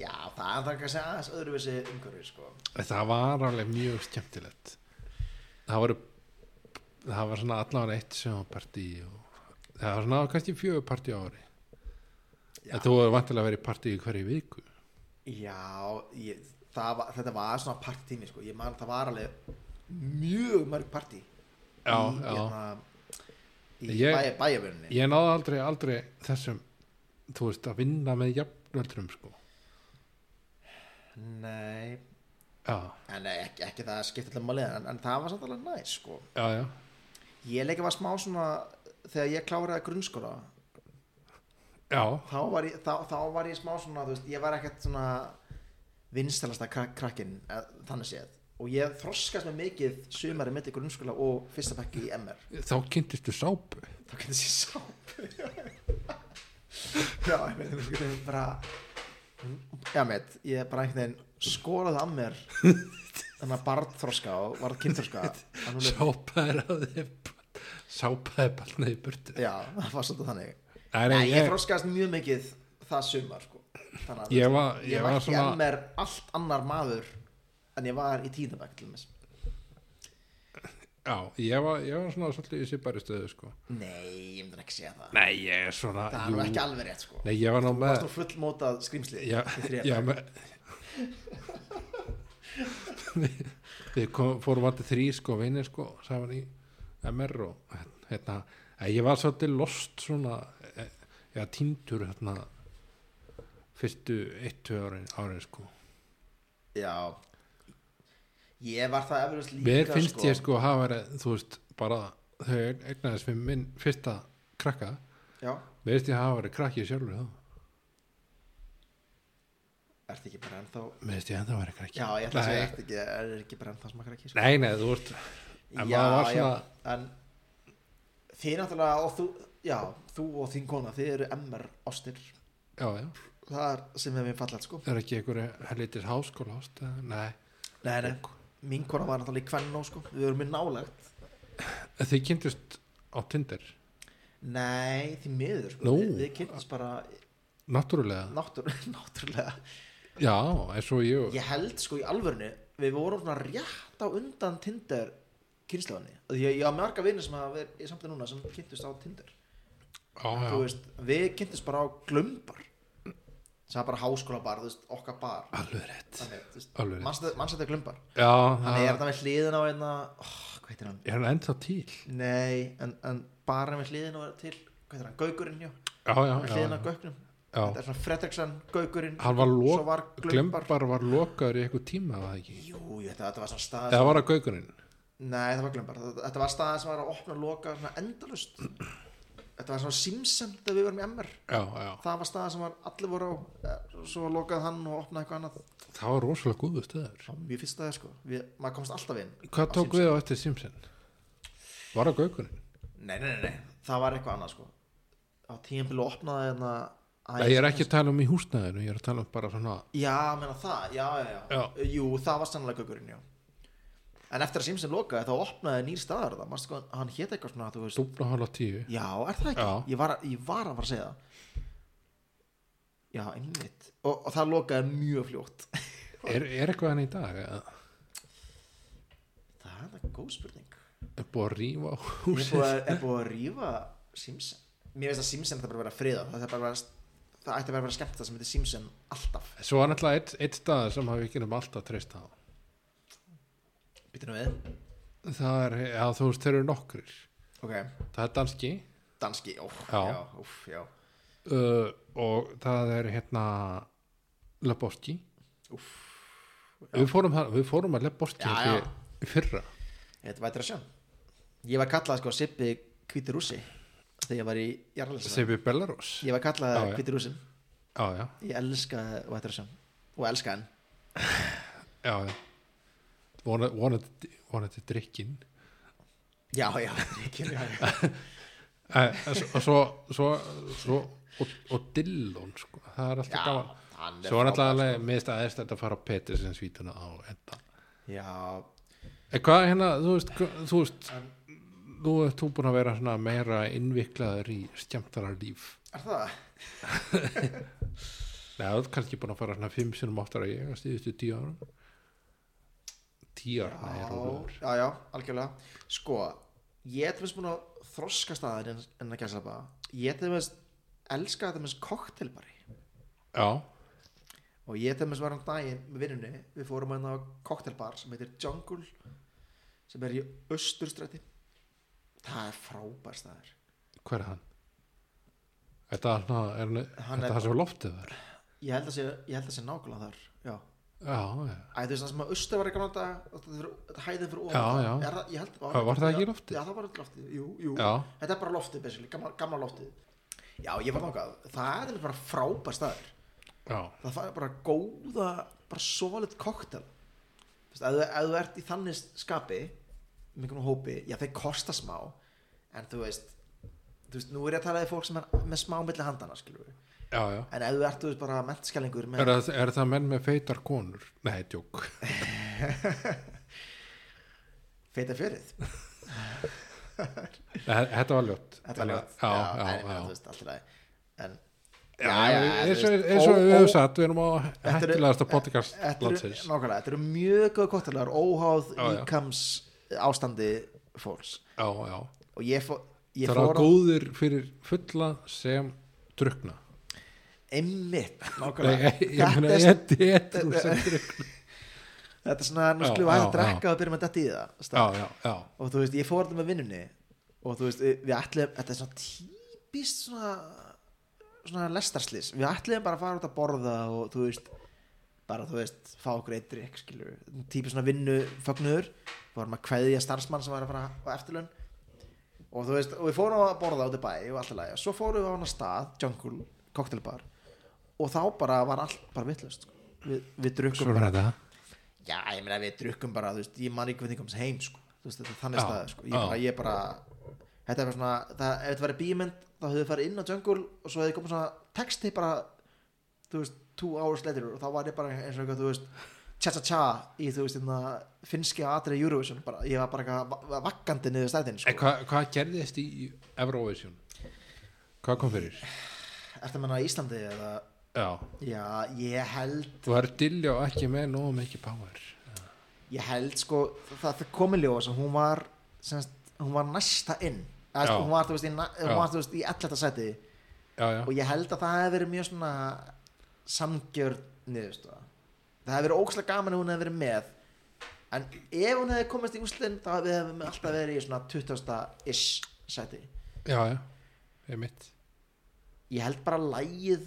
S2: Já, það er það kannski aðeins öðruvísi umhverfi, sko
S1: það var alveg mjög skemmtilegt það voru það var svona allavega eitt sjónpartí og það var svona kannski fjögur partí á ári
S2: Já.
S1: þetta voru vantilega að vera í partí í hverju viku
S2: Já, ég, það var, þetta var svona partími, sko Ég man, það var alveg mjög mörg partí
S1: já,
S2: í,
S1: já.
S2: hérna, í
S1: Ég-
S2: bæ, bæjarvinni
S1: ég náði aldrei, aldrei þessum þú veist að vinna með jafnöldrum sko
S2: Nei,
S1: já,
S2: en nei, ekki, ekki það skipti allir málið en, en það var samt alveg næs sko.
S1: já, já,
S2: Ég leika var smá svona þegar ég kláraði grunnskóla
S1: já
S2: þá var ég, þá, þá var ég smá svona þú veist, ég var ekkert svona vinstalasta krak krakkin eh, þannig séð og ég þroskast með mikið sumari mitt í grunnskóla og fyrsta bekki í MR
S1: þá kynntistu sápu
S2: þá getur þessi sápu já, ég veit ég veit bara já, meit, ég bara einhvern veginn skólaði að mér þannig að barðþroska og varð kynþroska að núna-
S1: sápa er að þið sápa er balnaði í burtu
S2: já, það var svolítið þannig
S1: Nei,
S2: Nei,
S1: nei,
S2: ég,
S1: ég,
S2: þroskaðist mjög mikið það sumar sko. þannig að
S1: Ég var- ég var
S2: ég var ekki
S1: svona-
S2: að mér allt annar maður en ég var í tíðabæk til þess
S1: já, ég, var, ég var svona svolítið í sýpari stöðu sko.
S2: nei, ég myndi ekki segja það
S1: Nei, ég er svona
S2: það er
S1: jú.
S2: nú ekki alveg rétt sko.
S1: Nei, ég var nú
S2: það var
S1: með
S2: svona fullmótað skrýmsli
S1: Já,
S2: í þriðja
S1: já
S2: bekk.
S1: með Við- Við kom, fórum vanti þrý sko vinir sko saman í MR og hérna, að ég var svolítið lost svona eh, eða týndur hérna fyrstu eittu árin, árin sko
S2: Já Ég var það eflust líka
S1: Mér finnst
S2: sko.
S1: ég sko að hafa verið, þú veist, bara þau eignaðist við minn fyrsta krakka
S2: Já,
S1: Mér finnst ég að hafa verið krakki sjálfur þá
S2: ertu ekki bara ennþá
S1: Mér finnst ég ennþá verið krakki
S2: Já, ég ætla að segja,
S1: Nei,
S2: ertu ekki, er ekki bara ennþá smakar ekki sko.
S1: Nei, nei, þú veist en
S2: Já,
S1: maður var
S2: já,
S1: svona-
S2: en Þið náttúrulega og þú Já, þú og þín kona, þið eru MR ástir
S1: Já, já
S2: Það er sem við mér fallað sko
S1: Það er ekki einhverju hellitis háskóla ást eða- Nei,
S2: Nei, nei, mín kona var náttúrulega í kvennó sko Við erum mér nálægt
S1: þið kynntust á Tinder
S2: Nei, því miður sko
S1: Nú.
S2: Við, við kynntumst bara
S1: Náttúrulega,
S2: náttúr, náttúrulega
S1: já, eins og ég
S2: Ég held sko í alvörinu Við vorum svona rétt á undan Tinder kynnslóðinni Því ég, ég á marga vinnir sem hafa verið í samtli núna sem kynntust á Tinder
S1: Já,
S2: Þú
S1: já,
S2: veist, Við kynntust bara á glömbar sem er bara háskóla bar, þú veist, okkar bar
S1: alveg rétt
S2: þannig, þú veist,
S1: Alveg rétt.
S2: mannsættu glumbar
S1: já,
S2: þannig er hérna.
S1: það-
S2: þetta með hliðin á einna oh, hvað heitir hann?
S1: er hann ennþá til
S2: Nei, en, en bara með hliðin á til, hvað heitir hann? Gaugurinn, já,
S1: já, já,
S2: með
S1: já,
S2: hliðin á
S1: já,
S2: Gauknum þetta
S1: já.
S2: er svona Fredriksson, Gaugurinn
S1: hann var,
S2: svo
S1: lok,
S2: var glumbar,
S1: glembar var lokaður í eitthvað tíma var það ekki,
S2: jú, ég, þetta, þetta var svona stað
S1: eða var það gaukurinn
S2: Nei, það var glömbar. Þetta þetta var staðið sem var að opna og loka svona endalust. Þetta var svona Simpson þegar við varum í MR.
S1: já, já,
S2: Það var staðið sem var allir voru á, eh, svo lokaði hann og opnaði eitthvað annað.
S1: það var rosalega góðu stöður
S2: Það var mjög fyrst staðið sko. Við, maður komst alltaf inn.
S1: hvað
S2: á
S1: tók við á eftir Simpson var það gaukurinn
S2: Simpson. Nei, nei, nei, nei. Það var eitthvað annað sko. Á tíðanbílu opnaði hérna...
S1: Nei, ég er ekki að tala um í húsnæðinu, ég er að tala um bara svona
S2: Já, menna það. Já, já, já.
S1: Já.
S2: Jú, það var sannlega gökurinn, já. En eftir að Simpson lokaði þá opnaði nýr staðar það. Manstu hvað, hann hét eitthvað svona, þú veist,
S1: dúfna hálf á tíu
S2: Já, er það ekki?
S1: Já.
S2: Ég var, að- ég var að fara að segja það Já, einmitt og, og það lokaði mjög fljótt
S1: er, er eitthvað hann í dag? eða?
S2: Það er þetta góð spurning
S1: Er búið að rífa á
S2: Er
S1: húsið?
S2: búið, að- er búið að rífa Simpson Mér finnst að Simpson það bara að vera friða Það, er bara að vera, það ætti bara að vera skemmt það sem heitir Simpson alltaf
S1: Svo var náttúrulega eitt, eitt stað sem hafi ekki um alltaf treyst á
S2: Býtum við
S1: Það er, já þú veist, þeir eru nokkrir
S2: Ok,
S1: Það er danski
S2: danski, ó, já,
S1: Já.
S2: já, úf, já
S1: uh, og það er hérna Leboski við fórum, þar- við fórum að Leboski
S2: Já,
S1: já, já. fyrra
S2: Þetta vætir að sjá Ég var kallað sko Sippi Hvíti Rússi Þegar ég var í Jarlins
S1: sem við Belarus
S2: Ég var kallað
S1: Já, já.
S2: Hvíti Rússin
S1: Já, já,
S2: Ég elska Vætir að sjá Og elska hann
S1: já, já. Vona- vonandi vonandi drikkin
S2: Já, já, Ríkir, já, já.
S1: Eh, og svo, svo, svo og, og Dillon sko. það er alltaf
S2: Já, hann
S1: gaman
S2: er
S1: svo er alltaf
S2: frábær, sko.
S1: alveg mist aðeins þetta að fara á Petersen svítuna á enda
S2: já
S1: en hvað er hérna, þú veist hva- þú veist, þú ert þú búin að vera svona meira innviklaður í skemmtara líf
S2: er það?
S1: Nei, þú ert kannski búin að fara svona fimm sinum áttar að ég að stíðustu tíu árum tíu árum, nei, rólegur
S2: Já, já, algjörlega Sko, ég er til þess búin að þroska staðar en, en að gæsa bara Ég er til þess elska þetta með koktelbari
S1: já,
S2: og ég til þess var hann daginn með vinnunni við fórum hann á koktelbar sem heitir Jungle sem er í Östurstræti Það er frábær staðar
S1: hver er hann? Þetta er svona, er, hann-
S2: Hann
S1: þetta
S2: er-
S1: er það sem loftið var
S2: Ég held að sé, ég held að sé nákvæmlega þar Já
S1: já, já
S2: Æ, þú veist það sem að austur var í gamla daga og þetta fyrir- þetta hæðin fyrir ofan
S1: Já,
S2: það.
S1: já.
S2: Er það, ég held,
S1: Já, var það ekki
S2: já,
S1: loftið?
S2: Já, það var ekki loftið, jú, jú
S1: Já.
S2: Þetta er bara loftið, basically, gamla, gamla loftið Já, ég var þangað, það er nefnilega bara frábær staður
S1: já,
S2: Það fæði bara góða, bara solid koktel Þú veist, ef þú- ef þú ert í þannig skapi með einhvern hópi, já þeir kosta smá en þú veist þú veist, nú er ég að tala í fólk sem er með smá milli handana, skilur við,
S1: já, já.
S2: en ef þú ert þú veist, bara menntskælingur með
S1: Er það, er það menn með feitar konur? Nei, tjók.
S2: feita fjörið
S1: Þetta var ljótt.
S2: þetta var ljótt
S1: Já,
S2: en
S1: já,
S2: ég meina, þú
S1: já.
S2: veist, allt í lagi. en
S1: já,
S2: Já, já,
S1: já.
S2: þú
S1: Eins
S2: veist,
S1: og- eins og e-
S2: ó-
S1: við höfum
S2: ó-
S1: sagt, við erum á
S2: þetta eru-
S1: hættilegasta podcast
S2: þetta eru-
S1: landsins.
S2: nákvæmlega, þetta eru mjög góð kottilegar óháð
S1: Já, já.
S2: íkams ástandi fólks
S1: Já, já.
S2: og ég, fó, ég
S1: Það eru
S2: fór á
S1: góðir fyrir fulla sem drukna.
S2: einmitt
S1: Nei, ég
S2: nákvæmlega.
S1: ég meina,
S2: er-
S1: ég þetta er sem drukna.
S2: þetta er svona, nú
S1: Já,
S2: skulum við
S1: já, já.
S2: að drekka og byrjum að detta í það
S1: Já,
S2: stað.
S1: já, já.
S2: og þú veist, ég fór þetta með vinnunni og þú veist, við ætlum þetta er svona típist svona svona lestarslýs, við ætlum bara að fara út að borða og þú veist bara þú veist, fá okkur eitt drikk skilur við, típist svona vinnu fögnuður vorum að kveðja starfsmann sem var að fara á eftirlaun og þú veist, og við fórum að borða út í bæ og allt í lagi, svo fórum við á hana stað Jungle, cocktailbar og þá bara var allt bara vittlust sko. við, við drukkum
S1: Svo er þetta.
S2: Já, ég meina við drukkum bara, þú veist, ég man ekki hvernig ég komst heim, sko, þú veist, þetta er þannig
S1: Já,
S2: staði, sko, ég
S1: já.
S2: bara, ég bara, þetta er bara svona, það, ef þetta verið bímynd, þá höfðu farið inn á jungle og svo hefði komið svona texti bara, þú veist, two hours later og þá var ég bara eins og eitthvað, þú veist, tja-tja-tja í, þú veist, hérna, finski atrið Eurovision, bara, ég var bara eitthvað va- vaggandi niður stæðin,
S1: En
S2: sko,
S1: hvað hvað gerðist í Eurovision? Hvað kom fyrir?
S2: ertu að menna Íslandi eða,
S1: Já.
S2: já, ég held,
S1: Þú er dilljá ekki með nóg mikið power.
S2: ég held sko það, það komi ljós að hún var semst, hún var næsta inn
S1: Já.
S2: Eða, sko, hún var þú veist í, na- hún
S1: Já.
S2: var, þú veist, í 11. seti
S1: Já, já.
S2: og ég held að það hefði verið mjög svona samgjörn niðurstaða það hefði verið ókslega gaman ef hún hefði verið með en ef hún hefði komist í úslinn þá hefði við alltaf verið í svona 20 ish seti
S1: já, já, ég mitt
S2: ég held bara að lægið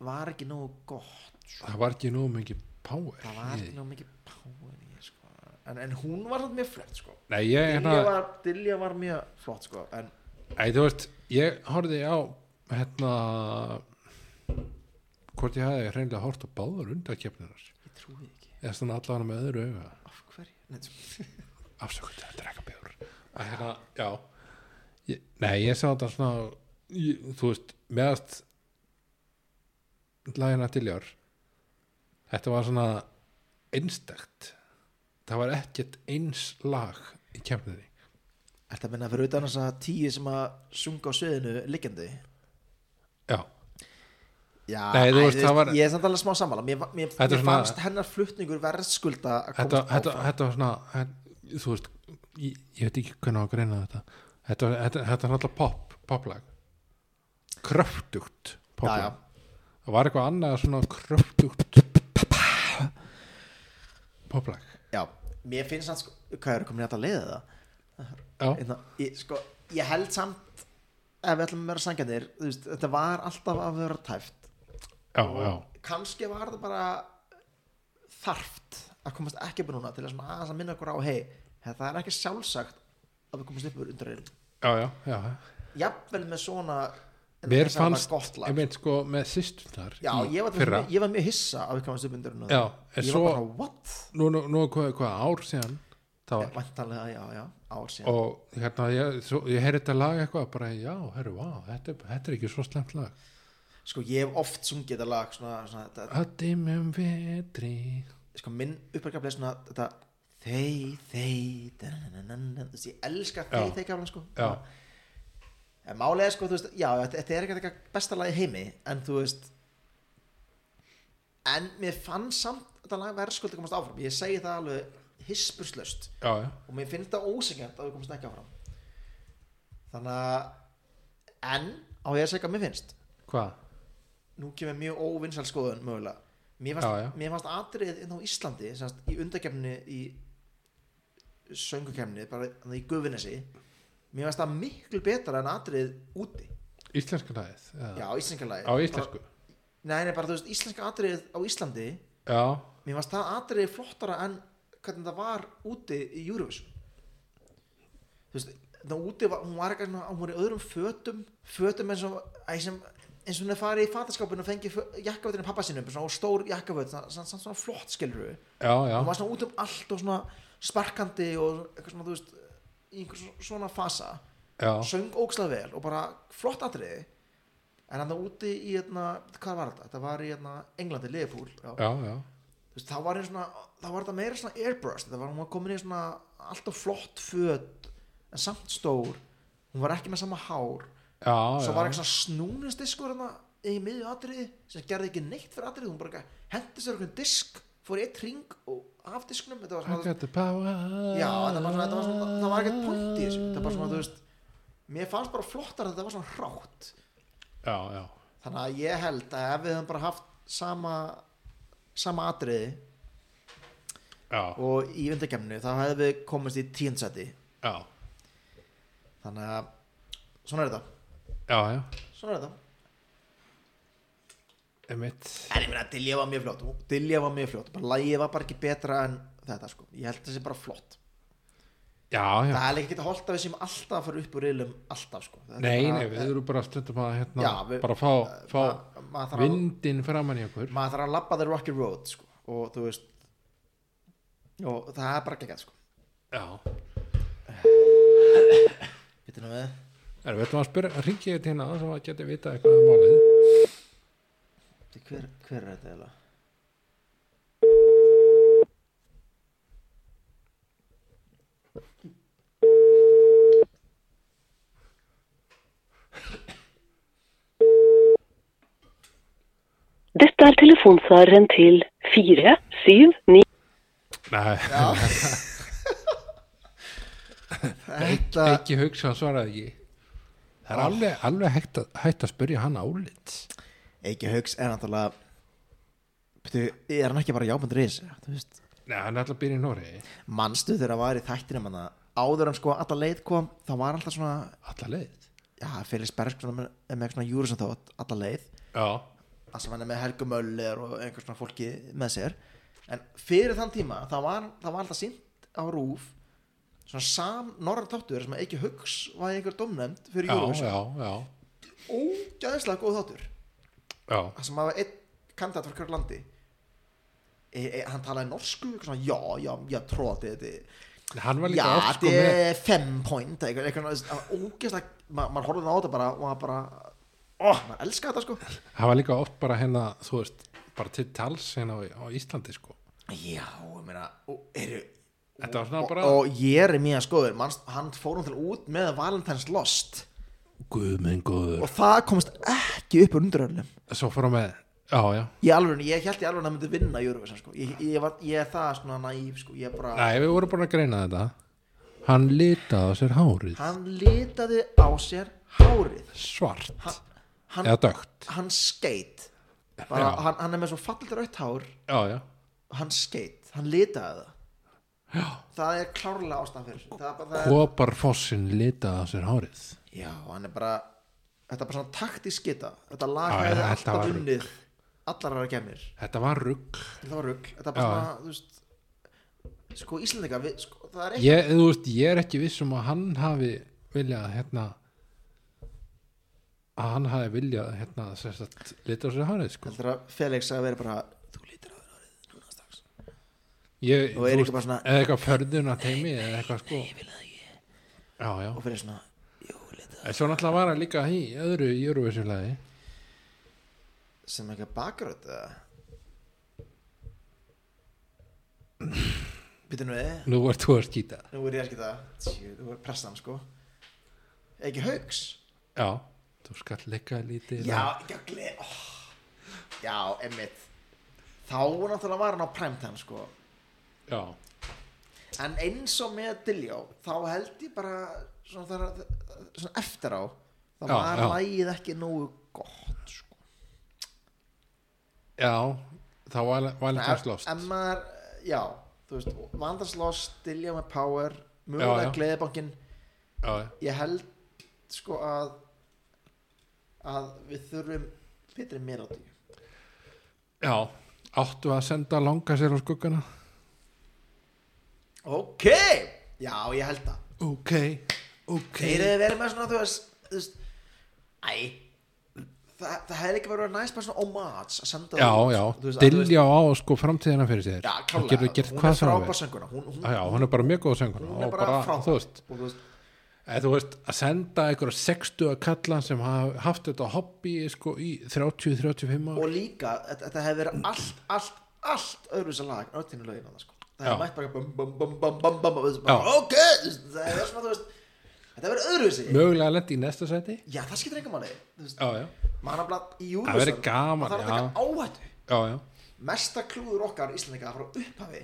S2: var ekki nógu gott sko.
S1: það var ekki nóg mikið power
S2: það var
S1: í
S2: ekki
S1: því.
S2: nógu mikið power í, því, sko. en, en hún var samt mjög flott sko.
S1: nei, ég, hérna,
S2: Dilja, var, Dilja var mjög flott sko. en
S1: Æ, þú veist, ég horfði á hérna hvort ég hafði hreinlega hort á báðar undarkeppninar
S2: ég trúi því ekki
S1: eða svona allavega með öðru auga
S2: af hverju Nei, sko.
S1: afsökundi að drekka bjór að hérna, já ég, nei, ég sá þetta svona ég, þú veist, meðast lagina til jár þetta var svona einstakt það var ekkert eins lag í keppninni
S2: Ertu að minna fyrir utan þess að tíu sem að sunga á sviðinu liggjandi?
S1: já,
S2: Já,
S1: Nei, þú
S2: æ,
S1: veist, það var-
S2: ég er samt alveg smá sammála Mér, va- mér,
S1: Þetta er
S2: mér
S1: svona-
S2: fannst hennar flutningur verðskulda að
S1: þetta,
S2: komast
S1: þetta,
S2: áfram
S1: þetta var svona en, þú veist, ég, ég veit ekki hvernig á að greina þetta þetta, var- þetta, þetta er alltaf pop, poplag kröftugt
S2: Já,
S1: poplag
S2: já.
S1: það var eitthvað annað svona kröftugt poplag
S2: Já, mér finnst hann sko, hvað er komin í þetta leiðið það?
S1: já,
S2: Einna, ég, sko, ég held samt ef við ætlum að vera sangjarnir þú veist, þetta var alltaf að vera tæft
S1: já, já,
S2: kannski var þetta bara þarft að komast ekki upp úr núna til að svona aðeins að minna okkur á hei, það er ekki sjálfsagt að við komast upp úr undir einu
S1: já, já, já.
S2: jafnvel með svona en
S1: mér
S2: þess að það var
S1: fannst,
S2: gott lag
S1: ég veit sko með sýstunar
S2: já, ég var,
S1: fyrra,
S2: mjög, ég var mjög hissa á ykkur hans uppundurinn
S1: Já, en
S2: ég
S1: svo-
S2: var bara, what?
S1: nú, nú, nú er hvað, hvað ár síðan það var
S2: vantanlega, já, já, ár síðan
S1: og hérna, ég, svo, ég heyri þetta lag eitthvað bara, já, herru, vá, þetta, er- þetta er ekki svo slemt lag
S2: sko, ég hef oft sungið þetta lag svona, svona, þetta,
S1: Að dimmum vetri
S2: sko, minn uppverkeflega svona, þetta þey, þey danananana, þú veist, ég elska þey,
S1: Já.
S2: þey kaflan, sko
S1: Já,
S2: en málega, sko, þú veist, já, þetta- þetta er ekki eitthvað besta lag í heimi, en þú veist en mér fann samt þetta lag verðskuldi komast áfram ég segi það alveg hispurslaust
S1: já, já,
S2: og mér finnst það ósengjant að við komumst ekki áfram þannig að en á ég að segja hvað mér finnst
S1: hvað?
S2: nú kemur mjög óvinnsal skoðun mögulega mér fannst,
S1: Já, já.
S2: Mér fannst atrið inn á Íslandi semast, í undakefni í söngukefni bara þarna í gufinesi mér fannst það miklu betra en atrið úti
S1: Íslenska lagið? eða?
S2: já, íslenskjalagi
S1: Á íslensku?
S2: nei, nei, bara þú veist, íslenska atrið á Íslandi
S1: Já,
S2: mér fannst það atrið flottara en hvernig það var úti í Eurovision þú veist það úti, var, hún var eitthvað svona hún var í öðrum fötum, fötum eins og æ, sem, eins og hún er farið í fataskápun og fengi jakkavötinu pappa sínum, svona stór jakkavöt svona, svona, svona, svona flott skilur við
S1: já, já
S2: hún var svona út um allt og svona sparkandi og eitthvað svona, þú veist í einhver svo- svona fasa
S1: Já,
S2: söng ógslag vel og bara flott atriði en hann það úti í hérna, hvað var þetta? þetta var í hérna, Englandi, Liverpool já
S1: já, já
S2: þú veist, þá var ég svona þá var þetta meira svona airbrush það var hún var komin í svona alltaf flott föt en samt stór hún var ekki með sama hár
S1: Já,
S2: svo
S1: já,
S2: var eitthvað snúningsdiskur hérna í miðju atriði sem gerði ekki neitt fyrir atriði hún bara ekki hendi sér einhvern disk fór í eitt ring og af disknum þetta var
S1: I
S2: svona,
S1: got the power
S2: já, það var svona, þetta var svona það
S1: Ah.
S2: var ekkert punkt í þessu það var svona, þú veist mér fannst bara flottar að þetta var svona hrátt
S1: Já, já,
S2: þannig að ég held að ef við höfum bara haft sama sama atriði
S1: já,
S2: og í undarkemnu þá hefðum við komist í tíundsæti
S1: já,
S2: þannig að svona er þetta
S1: já, já
S2: svona er þetta
S1: Emitt
S2: en ég meina Dilja var mjög flott Dilja var mjög flott bara lægið var bara ekki betra en þetta sko ég held þessi bara flott
S1: Já, já
S2: það er ekki að holda við sem alltaf að fara upp úr reilum alltaf sko Þetta er
S1: Nei,
S2: bara-
S1: nei, við erum bara stundum að hérna
S2: Já, við-
S1: bara fá, fá
S2: ma- maður þarf að-
S1: vindin framan í okkur
S2: maður þarf að labba the rocky road sko og þú veist og það er bara ekki sko
S1: Já
S2: Bittu nú við
S1: Erum við ætlum að spyrja, ringi ég til hérna svo að geti vita eitthvað um málið
S2: Bíddu, hver, hver er þetta eiginlega
S4: Dette er telefonsvareren til 479.
S1: Nei,
S2: þetta
S1: ekki hugsa, hann svaraði ekki Ah. Það er alveg, alveg hægt, að, hægt að spyrja hann álit
S2: Eiki Hauks er náttúrulega Þú, er hann ekki bara jábundriðis? Þú veist,
S1: Nei, hann er alltaf að byrja í Noregi
S2: manstu þegar hann var í þættinum hann áður en sko alla leið kom þá var alltaf svona
S1: Alla leið
S2: já, Felix Berg svona, með- með eitthvað svona júri sem þá alla leið
S1: Já,
S2: að sem hann er með Helgu Möller og einhvers svona fólki með sér en fyrir þann tíma þá var, þá var alltaf sínt á rúf svona sam norra þáttur sem ekki hugs var einhver domnefnd fyrir
S1: já,
S2: júri
S1: já, já,
S2: ógæðislega góð þáttur
S1: já.
S2: að sem hafa einn kandidat frá hverju landi e, e, hann talaði norsku eitthvað svona, já, já, já, tróði þetta
S1: Hann var líka
S2: Já,
S1: oft sko
S2: þetta
S1: með
S2: er fem point eitthvað, eitthvað ógeðslega, maður ma horfði á þetta bara og maður bara, oh, maður elska þetta sko
S1: Hann var líka oft bara hérna, þú veist bara til tals hérna á, á Íslandi sko
S2: Já, ég meina og, eru,
S1: Þetta var svona
S2: og,
S1: bara
S2: og ég er mjög skoður manst, hann fór hún til út með Valentine's Lost
S1: Guð minn góður
S2: og það komst ekki upp úr unduröðunum
S1: Svo fór hann með, já, já
S2: Ég alveg, ég held ég alveg að hann myndi vinna Júruvísan sko, ég, ég, var, ég er það svona næf sko, ég er bara
S1: Nei, við vorum búin að greina þetta Hann litaði á sér hárið
S2: hann litaði á sér hárið
S1: Svart
S2: hann, hann,
S1: Eða dögt
S2: hann skeit bara,
S1: Já.
S2: hann, hann er með svo fallit rautt hár
S1: Já, já
S2: hann skeitt, hann litaði það já. það er klárlega ástæðan fyrir þessu. það er bara, það er,
S1: Koparfossin litaði á sér hárið
S2: já, hann er bara þetta er bara svona taktisk geta þetta lag
S1: Já,
S2: hefði
S1: þetta
S2: alltaf
S1: var rugl.
S2: unnið allar aðra gemir,
S1: Þetta var rugg
S2: þetta var rugg þetta er
S1: Já.
S2: bara svona, þú veist sko Íslandika, við, sko, það er ekki
S1: ég, þú veist, ég er ekki viss um að hann hafi viljað hérna að hann hafi viljað hérna sem sagt, lita á sér hárið sko.
S2: heldur að Felix að vera bara þú lítir á þér árið núna strax
S1: ég,
S2: Og er ekki bara svona-
S1: eða eitthvað förðuna teimi eða eitthvað sko já, já,
S2: og fyrir svona,
S1: en svo náttúrulega var hann líka í öðru í Eurovision-lagi
S2: sem ekki bakröð býtum við
S1: nú ert þú að skýta
S2: eh? nú er ég ekki það, tjú, þú er pressan sko ekki haugs
S1: já, þú skall leika lítið
S2: Já, já, gle... oh. Já, emmitt Þá náttúrulega var hann á primetime sko
S1: já,
S2: En eins og með Dilljó Þá held ég bara svona, þar, svona eftir á þá
S1: Já,
S2: var
S1: já.
S2: lagið ekki nógu gott sko
S1: já þá var, var líka
S2: En-
S1: slóst
S2: En maður, já, þú veist Vandarslost, Dilljó með Power
S1: Já,
S2: Mögulega
S1: já.
S2: Gleðibankin
S1: já, já.
S2: Ég held sko að að við þurfum betri melodíu
S1: já, áttu að senda langa sér á skuggana
S2: Ok, já, ég held það
S1: ok, ok
S2: Þeir hefði verið með svona, þú veist, þú veist Æ Það, það hefði ekki verið næst bara svona homage að senda
S1: já,
S2: það út,
S1: já,
S2: þú veist, að þú veist-
S1: dilja á sko framtíðina fyrir sér
S2: Já,
S1: hún
S2: klálega,
S1: getur gert hvað
S2: Hún
S1: sem hún
S2: er frábær
S1: vil
S2: sönguna Hún, hún,
S1: já, hún er bara mjög góð söngur
S2: hún er bara frábær
S1: þú veist,
S2: Og þú veist,
S1: eða, þú veist að senda einhverja 60 að kalla sem hafa haft þetta hobby sko, í 30-35 ár
S2: Og líka, þetta, þetta hefði verið allt, allt, allt öðru þessar lag Öttinu lögin á það, sko Það
S1: Já.
S2: hefði mætt bara bum, bum, bum, bum, bum, bum og þú veist, bara, Ok, þú veist, það hefði verið svona, þú veist Þetta hefði verið öðru þessi
S1: mögulega lendi í næsta sæti
S2: Já, það skiptir enga máli Þú veist,
S1: já, já,
S2: maður er bara í júru
S1: Það væri gaman,
S2: Það þarf að
S1: já.
S2: taka áhættu
S1: já, já,
S2: mesta klúður okkar Íslandinga frá upphafi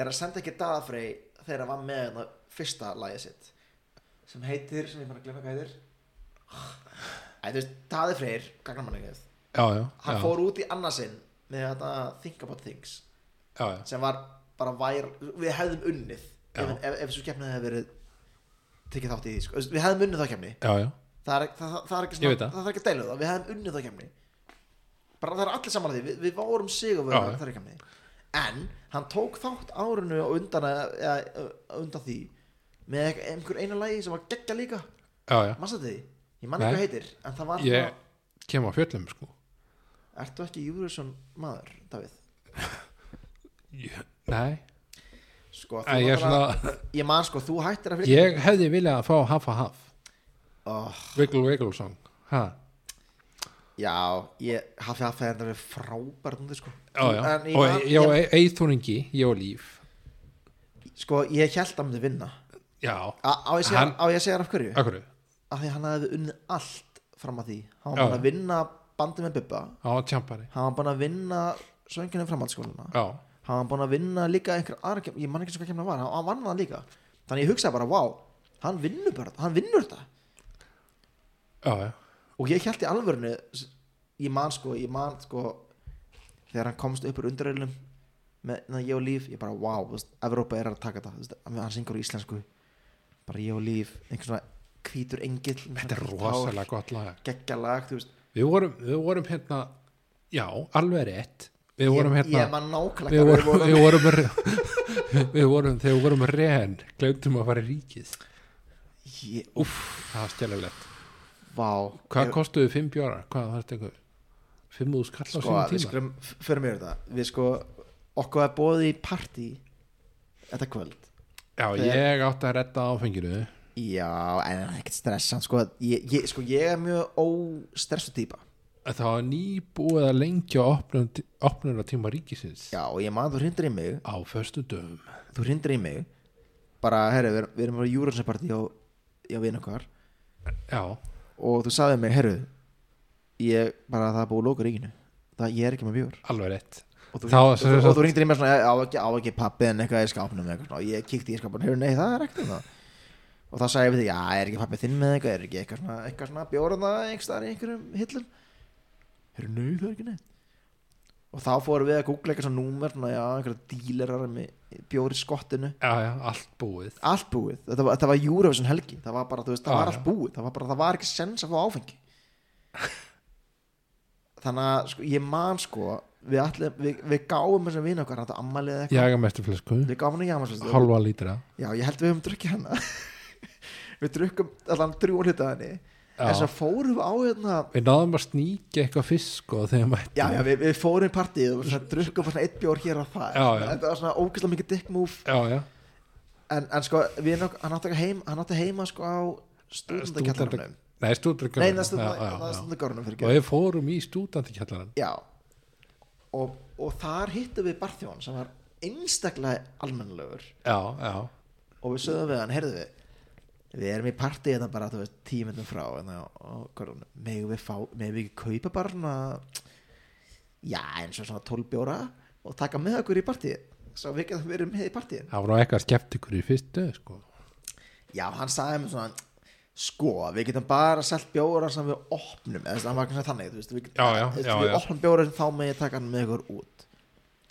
S2: er að senda ekki daðafrey þegar hann var með hérna fyrsta lagið sitt sem heitir, sem ég bara glemma hvað heitir Æ, þú veist, daðafreyr gagnamanningið,
S1: já, já,
S2: hann
S1: já,
S2: fór út í annarsinn með þetta Think About Things
S1: já, já.
S2: sem var bara vær við hefðum unnið
S1: Já.
S2: ef, ef, ef svo kemnið hefði verið tekið þátt í því, sko. Þú veist, við hefðum unnið þá kemni
S1: Já, já,
S2: það er, það, það, það er ekki
S1: Ég veit
S2: svona,
S1: það.
S2: það er ekki að deilu það við hefðum unnið það kemni bara það er allir saman að því, við, við vorum
S1: Já,
S2: sigurverðar
S1: já.
S2: það kemni en hann tók þátt árinu á undan, að, að, að undan því með ek- einhver einu lagi sem var geggja líka
S1: já, já.
S2: mannstu því, ég mann
S1: Nei.
S2: ekki hvað heitir en það var
S1: Ég
S2: svona,
S1: kem á fjöllum sko
S2: ertu ekki Júriðsson maður, Davíð
S1: ég, Nei,
S2: sko, þú
S1: Æ, ég, er
S2: náttúrulega-
S1: svona,
S2: ég man sko, þú hættir að fyrir
S1: ég hefði viljað að fá half a half
S2: oh,
S1: Wiggle Wiggle song ha.
S2: já, ég hafi að fyrir þetta við frábært núna sko.
S1: Já, já,
S2: En ég
S1: og
S2: man-
S1: ég
S2: ég-
S1: og eithúringi, ég og líf
S2: sko, ég held að myndi vinna
S1: Já,
S2: Á á ég að segja-
S1: Hann-
S2: á ég að segja þér af hverju?
S1: akkur
S2: Af því að hann hefði unnið allt fram að því Hann var
S1: Já.
S2: búin að vinna bandið með Bubba
S1: Á tjampari
S2: Hann var búin að vinna söngjunum framhaldsskóluna
S1: Já,
S2: Hann var búin að vinna líka einhver aðra kemna Ég man ekki eins og hvað kemna var, hann, hann vann það líka Þannig ég hugsaði bara, vá, hann vinnur bara Hann vinnur þetta
S1: já, já
S2: Og ég held í alvörinu Ég man sko, ég man sko þegar þegar hann komst upp úr undirreilunum með na, ég og líf, ég bara wow, þú veist, Evrópa er að taka þetta, þú veist, hann syngur á íslensku bara ég og líf, einhvern svona hvítur engill
S1: Þetta er rosalega gott lag
S2: geggjalag, þú veist
S1: Við vorum, við vorum hérna Já, alveg rétt Við vorum
S2: ég, ég
S1: hérna
S2: man nákvæmlega
S1: Við
S2: hvað
S1: vorum, við vorum, re- við vorum þegar við vorum reyn glemtum að fara í ríkið
S2: ég,
S1: Úff, það var stjælulegt
S2: vá
S1: Hvað
S2: Ég-
S1: kostuðu fimm bjóra? Hvað var þetta einhver? Fimm úr skall á
S2: sko,
S1: sínum
S2: við
S1: tíma?
S2: skulum, fyrir mér þetta við sko, okkur að bóði í partí þetta kvöld
S1: Já,
S2: þegar-
S1: ég átti að redda áfenginu
S2: já, en það er ekkert stressan sko, ég, ég, sko, ég er mjög óstressu típa
S1: Það var nýbúið að lengja opnun, opnun á tíma ríkisins
S2: já, og ég man þú hrindir í mig
S1: á föstu dögum
S2: þú hrindir í mig bara, herru, við, erum- við erum á júrunsepartí á, á vinn okkar
S1: Já,
S2: og þú sagði mig, herru ég, bara það er búið að lóka ríkinu það, ég er ekki með bjór
S1: alveg rétt
S2: og þú,
S1: Þá-
S2: og,
S1: sem sagt-
S2: og þú ringdir í mér svona á ekki, á ekki pappi en eitthvað í skápnum eða eitthvað svona, og ég kíkti í skápnum, hefur nei það er ekkert um það og þá sagði ég við því, já er ekki pappi þinn með eitthvað er ekki eitthvað svona, eitthvað svona bjórna einhverstaðar í einhverjum hillum hefur nei það er ekki neitt og þá fórum við að googla eitthvað svona númer svona, já einhverja dílerar með bjóri skottinu
S1: Já, já, allt búið
S2: allt búið, þetta var, þetta var Eurovision helgi það var bara, þú veist, það
S1: Já,
S2: var
S1: já.
S2: allt búið það var bara, það var ekki sens að fá áfengi þannig að sko, ég man sko við, allir, við, við gáum þessum vinn okkar þetta ammalið eða eitthvað,
S1: Jaga mesturflösku,
S2: við gáum hann í jamaslistu
S1: halva lítra
S2: já, ég held við höfum drukkið hana við drukkum allan drjón hluta henni
S1: Já.
S2: en svo fórum við á hérna
S1: Við náðum að sníkja eitthvað fisk og þegar mættum
S2: já, já, við, við fórum í partíð og svona, drukkum bara svona eitt bjór hér og það
S1: Já, já.
S2: þetta var svona ógeðslega mikið dick move
S1: já, já.
S2: en, en sko, við, hann átti heima, hann átti heima sko á stúdendakjallarunum
S1: Nei, stúdendakjallaranum
S2: Nei, það
S1: Já, já, já.
S2: stundu gárunum fyrir
S1: Og
S2: ekki
S1: við fórum í stúdendakjallarann
S2: Já og, og þar hittum við Barþjón sem var einstaklega almennlegur
S1: Já, já,
S2: og við sögðum við hann, heyrðu við við erum í partí þetta bara, þú veist, tímundum frá en það, og hverjum, megum við fá megum við ekki kaupa bara svona já, eins og svona 12 bjóra og taka með okkur í partí svo við getum verið með í partíin
S1: það var nú eitthvað skeptikur í fyrstu sko.
S2: já, hann sagði mér svona sko, við getum bara selt bjóra sem við opnum, eða þess að hann var kannski þannig þú veist, við,
S1: Já, já,
S2: þú veist,
S1: já,
S2: við
S1: já.
S2: opnum bjóra sem þá með ég taka hann með ykkur út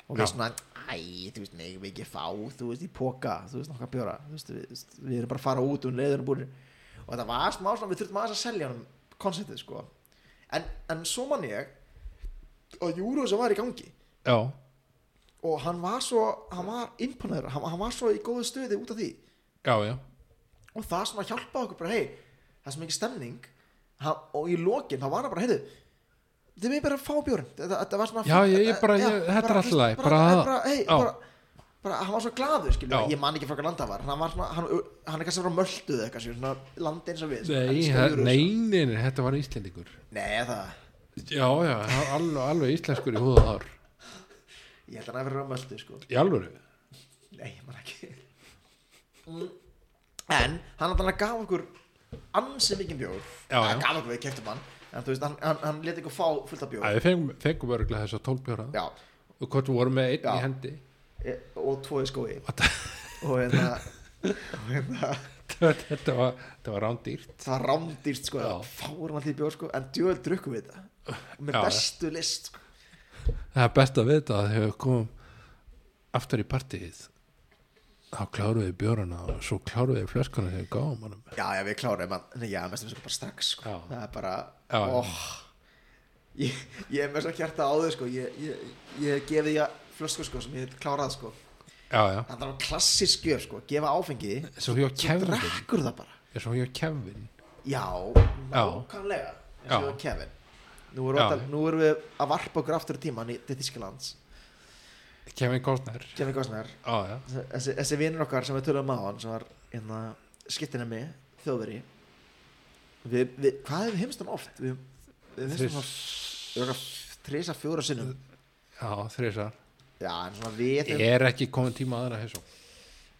S2: og við
S1: Já.
S2: svona, æ, þú veist, megum við ekki fá þú veist, í póka, þú veist, nokkað bjóra þú veist, við, þú veist, við erum bara að fara út um leiður búin og þetta var smá svona, við þurftum aðeins að selja hann konceptið, sko en, en svo man ég og Júru sem var í gangi
S1: Já,
S2: og hann var svo, hann var imponaður, hann, hann var svo í góðu stöði út af því
S1: já, já
S2: og það svona hjálpaði okkur bara hei, það er svo mikið stemning ha, og í lokin þá var það bara heyrðu þið með bara að fá bjórn þetta, þetta var svona eh,
S1: Já, ég- ég bara- ég- þetta er allt í lagi,
S2: bara,
S1: bara-
S2: bara, bara, hey,
S1: já.
S2: bara, bara hann var svo glaður skilur,
S1: Já.
S2: ég man ekki frá hvað landa var hann, var svona, hann, hann er kannski frá mölduð eitthvað skilur, svona landi eins og við sko,
S1: Nei,
S2: elskar
S1: það-
S2: Eurovision.
S1: nei, nei, nei, þetta var íslendingur
S2: nei það,
S1: Já, já, það var alveg, alveg íslenskur í húða þar
S2: ég held að hann að vera frá mölduð sko.
S1: Í alvöru
S2: nei, ég man ekki Mm. en hann hann gaf okkur ansi mikið bjór
S1: Já,
S2: Hann
S1: já.
S2: gaf okkur við keftum hann en þú veist, hann, hann, hann leti ykkur fá fullt af bjór
S1: Æ, Við fengum, fengum örgulega þess að tólbjóra
S2: já,
S1: Og hvort við vorum með einn
S2: Já.
S1: í hendi
S2: e- og tvo í skói
S1: Og það-
S2: og hérna og hérna
S1: Þetta var, þetta var rándýrt
S2: það rándýrst sko,
S1: Já.
S2: fárum allir bjór sko en djöðl drukkum við þetta og með
S1: Já.
S2: bestu list sko.
S1: Það er best að vita að þegar við komum aftur í partíið þá kláruðu við björana og svo kláruðu við flöskana þegar við gáum honum
S2: já, já, við klárum hann Nei, já, mestum við sko bara strax sko.
S1: Já.
S2: það er bara
S1: Já, já.
S2: oh, ég, ég er með svo hjarta á þau sko ég, ég, ég gefið ég flösku sko sem ég klárað sko
S1: Já, já,
S2: þannig að það var klassisk gjöf sko gefa áfengi
S1: svo hjá Kevin
S2: drekkur það bara
S1: svo hjá Kevin
S2: Já, nákvæmlega eins og
S1: Já.
S2: við Kevin nú erum,
S1: Já.
S2: alltaf, nú erum við að varpa okkur aftur í tíman í til Þísklands
S1: Kevin Kostner
S2: Kevin Costner,
S1: Já, já,
S2: þessi, þessi vinnur okkar sem við töluðum á hann sem var hérna, skiptinemi, þjóðveri við, við, hvað hefum við heimst hann oft? Við, við heimst hann oft
S1: Þriss-
S2: við erum okkar þrisa fjóra sinnum
S1: já þrísar
S2: Já, en svona við
S1: Er ekki komin tíma aðra þessu